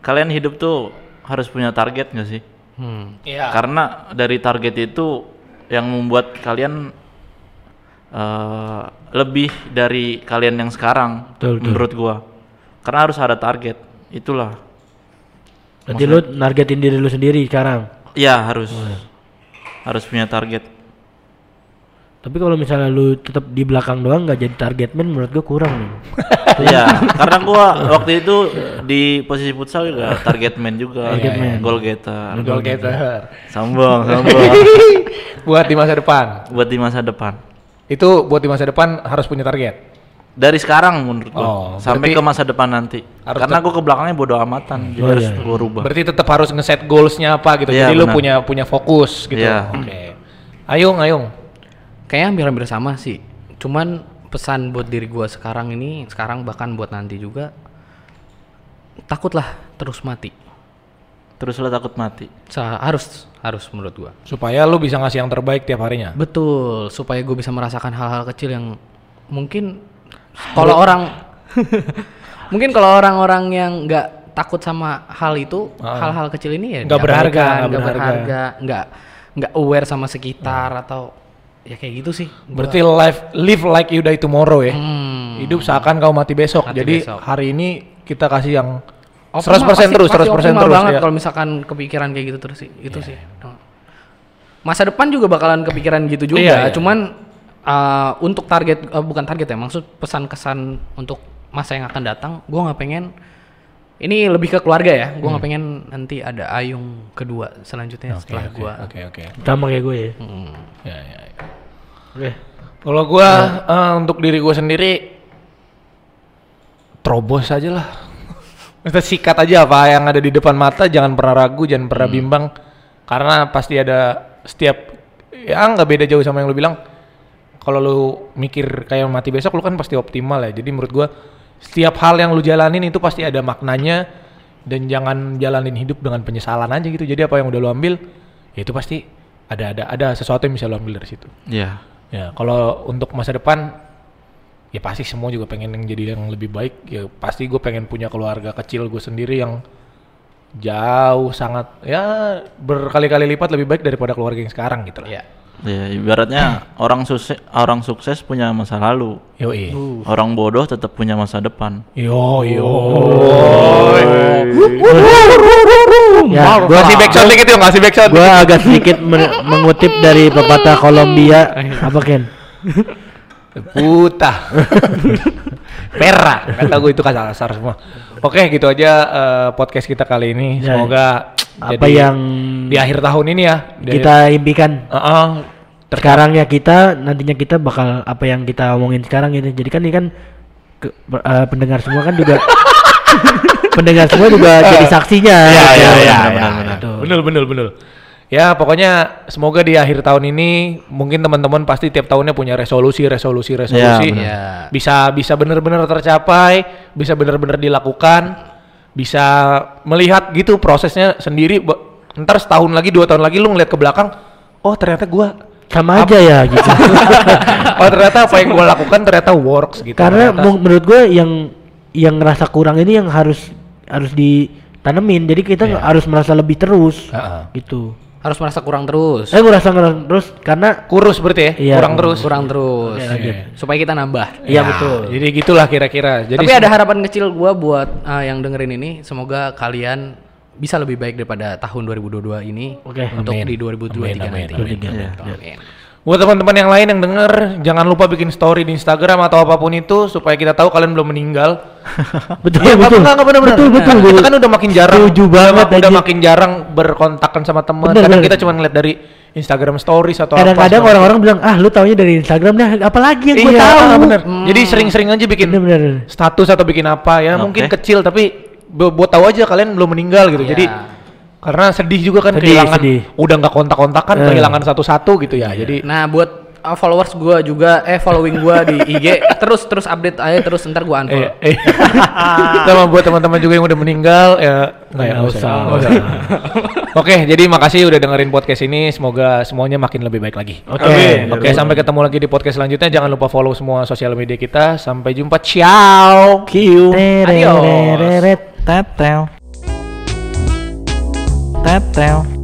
Speaker 4: kalian hidup tuh harus punya target nggak sih?
Speaker 2: Hmm.
Speaker 1: Iya.
Speaker 3: Ya.
Speaker 4: Karena dari target itu yang membuat kalian eh, lebih dari kalian yang sekarang
Speaker 3: Betul, betul.
Speaker 4: menurut gua. Karena harus ada target. Itulah.
Speaker 3: Berarti lu nargetin diri lu sendiri sekarang.
Speaker 4: Iya, harus.
Speaker 3: Oh, ya.
Speaker 4: Harus punya target. [laughs]
Speaker 3: Tapi kalau misalnya lu tetap di belakang doang nggak jadi target man menurut gua kurang nih.
Speaker 4: Iya, karena gua waktu itu di posisi futsal juga target man juga,
Speaker 3: Target man.
Speaker 4: goal getter.
Speaker 1: Goal getter. [laughs]
Speaker 4: Sambung, sambung.
Speaker 3: [laughs]
Speaker 1: Buat di masa depan.
Speaker 4: Buat di masa depan.
Speaker 1: Itu buat di masa depan harus punya target.
Speaker 4: Dari sekarang menurut gua
Speaker 1: Oh,
Speaker 4: sampai
Speaker 1: berarti-
Speaker 4: ke masa depan nanti.
Speaker 1: Harus
Speaker 4: Karena gua ke belakangnya bodo amatan, jadi
Speaker 3: Oh,
Speaker 4: harus
Speaker 3: iya.
Speaker 4: gua rubah.
Speaker 1: Berarti tetap harus ngeset goals-nya apa gitu.
Speaker 4: Iya,
Speaker 1: Jadi lu
Speaker 4: benar.
Speaker 1: punya punya fokus gitu.
Speaker 4: Iya.
Speaker 1: Oke. Ayung, ayung.
Speaker 2: Kayaknya hampir-hampir sama sih. Cuman pesan buat diri gua sekarang ini, sekarang bahkan buat nanti juga takutlah terus mati.
Speaker 4: Terus lo takut mati.
Speaker 2: Sa- harus harus menurut gua.
Speaker 1: Supaya lu bisa ngasih yang terbaik tiap harinya.
Speaker 2: Betul, supaya gue bisa merasakan hal-hal kecil yang mungkin kalau orang [laughs] mungkin kalau orang-orang yang nggak takut sama hal itu, hal-hal kecil ini ya
Speaker 1: Ah. Nggak berharga,
Speaker 2: diabaikan,
Speaker 1: nggak
Speaker 2: nggak
Speaker 1: berharga. Hmm.
Speaker 2: berharga, nggak nggak aware sama sekitar atau ya kayak gitu sih. Gua-
Speaker 1: Berarti live live like you die tomorrow ya.
Speaker 2: Hmm.
Speaker 1: Hidup seakan kau mati besok.
Speaker 2: Mati
Speaker 1: Jadi
Speaker 2: besok.
Speaker 1: hari ini kita kasih yang 100%
Speaker 2: Optimal, Oh, pasti-
Speaker 1: terus, 100%
Speaker 2: pasti optimal
Speaker 1: terus Iya.
Speaker 2: banget
Speaker 1: ya.
Speaker 2: kalau misalkan kepikiran kayak gitu terus sih. Itu sih. Oh. Masa depan juga bakalan kepikiran gitu juga,
Speaker 1: Iya, iya.
Speaker 2: cuman uh, untuk target uh, bukan target ya, maksud pesan kesan untuk masa yang akan datang, gua nggak pengen ini lebih ke keluarga ya. Gua nggak pengen nanti ada ayung kedua
Speaker 1: Hmm.
Speaker 2: selanjutnya
Speaker 1: Oke,
Speaker 2: setelah
Speaker 1: oke,
Speaker 2: gua.
Speaker 1: Oke, oke.
Speaker 3: Sama kayak gue ya.
Speaker 2: Hmm.
Speaker 1: Ya, ya, ya.
Speaker 3: Oke.
Speaker 1: Kalau gua eh, untuk diri gua sendiri terobos aja lah. Maksudnya sikat aja apa yang ada di depan mata, jangan pernah ragu, jangan pernah bimbang karena pasti ada setiap ya nggak beda jauh sama yang lu bilang. Kalau lu mikir kayak mati besok lu kan pasti optimal ya. Jadi menurut gua setiap hal yang lu jalanin itu pasti ada maknanya dan jangan jalanin hidup dengan penyesalan aja gitu. Jadi apa yang udah lu ambil ya itu pasti ada ada ada sesuatu yang bisa lu ambil dari situ.
Speaker 4: Iya.
Speaker 1: Ya, kalau untuk masa depan ya pasti semua juga pengen yang jadi yang lebih baik ya pasti gue pengen punya keluarga kecil gue sendiri yang jauh sangat ya berkali-kali lipat lebih baik daripada keluarga yang sekarang gitu lah
Speaker 2: Iya.
Speaker 4: Ya, [clears throat] ibaratnya orang sukses orang sukses punya masa lalu.
Speaker 1: yo iya
Speaker 4: Orang bodoh tetap punya masa depan.
Speaker 1: yo yo
Speaker 3: Ya, gua
Speaker 1: ngasih backsound dikit yuk ngasih backsound
Speaker 3: gua agak sedikit men- mengutip dari pepatah Kolombia apa Ken?
Speaker 1: Puta. Perak. Kata gue itu kasar kasar semua. Oke, gitu aja eh, podcast kita kali ini.
Speaker 3: Ya.
Speaker 1: Semoga
Speaker 3: Apa
Speaker 1: jadi
Speaker 3: yang
Speaker 1: di akhir tahun ini ya di-
Speaker 3: kita impikan
Speaker 1: Heeh.
Speaker 3: sekarangnya kita nantinya kita bakal apa yang kita omongin sekarang gitu jadi kan ini kan ke- per- eh, pendengar semua kan [laughs] juga pendengar semua juga jadi saksinya
Speaker 4: Iya,
Speaker 3: gitu.
Speaker 4: iya, iya,
Speaker 3: Benar,
Speaker 4: iya,
Speaker 3: benar,
Speaker 4: iya.
Speaker 3: betul.
Speaker 1: Bener bener bener. Ya pokoknya semoga di akhir tahun ini mungkin teman-teman pasti tiap tahunnya punya resolusi resolusi resolusi
Speaker 2: Iya.
Speaker 4: bener.
Speaker 1: bisa bisa benar-benar tercapai, bisa benar-benar dilakukan, bisa melihat gitu prosesnya sendiri. Ba- Ntar setahun lagi, dua tahun lagi lu ngeliat ke belakang, oh ternyata gua, [laughs]
Speaker 3: sama aja ya gitu
Speaker 1: oh ternyata apa yang gua lakukan ternyata works gitu.
Speaker 3: karena
Speaker 1: Ternyata-
Speaker 3: mu- menurut gue yang yang ngerasa kurang ini yang harus harus ditanemin jadi kita nggak harus merasa lebih terus
Speaker 1: Iya. Heeh.
Speaker 3: gitu
Speaker 2: Harus merasa kurang terus.
Speaker 3: saya merasa ngerasa terus karena
Speaker 1: kurus berarti ya,
Speaker 3: Iya,
Speaker 1: kurang terus.
Speaker 2: Kurang terus.
Speaker 3: lanjut.
Speaker 2: Supaya kita nambah. Nah,
Speaker 1: Ya.
Speaker 3: iya
Speaker 1: [laughs]
Speaker 3: betul
Speaker 1: Jadi gitulah kira-kira. Jadi
Speaker 2: Tapi ada harapan kecil gua buat eh, yang dengerin ini, semoga kalian bisa lebih baik daripada tahun 2022 ini
Speaker 3: Oke.
Speaker 2: untuk
Speaker 1: Amin.
Speaker 2: di
Speaker 1: Amin,
Speaker 2: 2023 nanti.
Speaker 1: amin, Iya.
Speaker 3: amin.
Speaker 2: Gitu, amin.
Speaker 1: buat teman-teman yang lain yang denger, jangan lupa bikin story di Instagram atau apapun itu supaya kita tahu kalian belum
Speaker 3: [laughs]
Speaker 1: meninggal.
Speaker 3: betul
Speaker 1: Iya,
Speaker 3: betul
Speaker 1: betul. Enggak, bener, bener.
Speaker 3: betul betul
Speaker 1: Nah, kita
Speaker 3: gua-
Speaker 1: kan udah makin jarang. kan
Speaker 3: setuju banget
Speaker 1: udah, udah
Speaker 3: anjir.
Speaker 1: makin jarang berkontakan sama teman.
Speaker 3: Bener,
Speaker 1: Kadang
Speaker 3: bener.
Speaker 1: kita cuma ngeliat dari Instagram stories atau apa,
Speaker 3: kadang-kadang
Speaker 1: segala
Speaker 3: orang-orang bilang ah lu taunya dari Instagram dah apalagi yang gue
Speaker 1: Iya,
Speaker 3: tahu Hmm.
Speaker 1: bener. Jadi sering-sering aja bikin
Speaker 3: Bener-bener.
Speaker 1: status atau bikin apa ya,
Speaker 4: Oke.
Speaker 1: mungkin kecil tapi bu- buat tahu aja kalian belum meninggal gitu.
Speaker 2: Iya.
Speaker 1: Jadi karena sedih juga kan
Speaker 3: Sedih,
Speaker 1: kehilangan
Speaker 3: sedih.
Speaker 1: udah nggak kontak-kontakan,
Speaker 3: Eh. Iya.
Speaker 1: kehilangan satu-satu gitu ya. Jadi
Speaker 2: Nah, buat uh, followers gua juga eh following gua di IG terus terus update aja terus ntar gua unfollow.
Speaker 1: Eh, [laughs] eh. sama buat teman-teman juga yang udah meninggal ya nggak ya, nggak usah. nggak [laughs] usah. Oke, jadi makasih udah dengerin podcast ini. Semoga semuanya makin lebih baik lagi.
Speaker 3: Oke.
Speaker 1: Oke, sampai ketemu lagi di podcast selanjutnya. Jangan lupa follow semua sosial media kita. Sampai jumpa. Ciao.
Speaker 4: Kiu.
Speaker 1: Adios.
Speaker 3: Tererereret.
Speaker 4: Tetel. Tetel.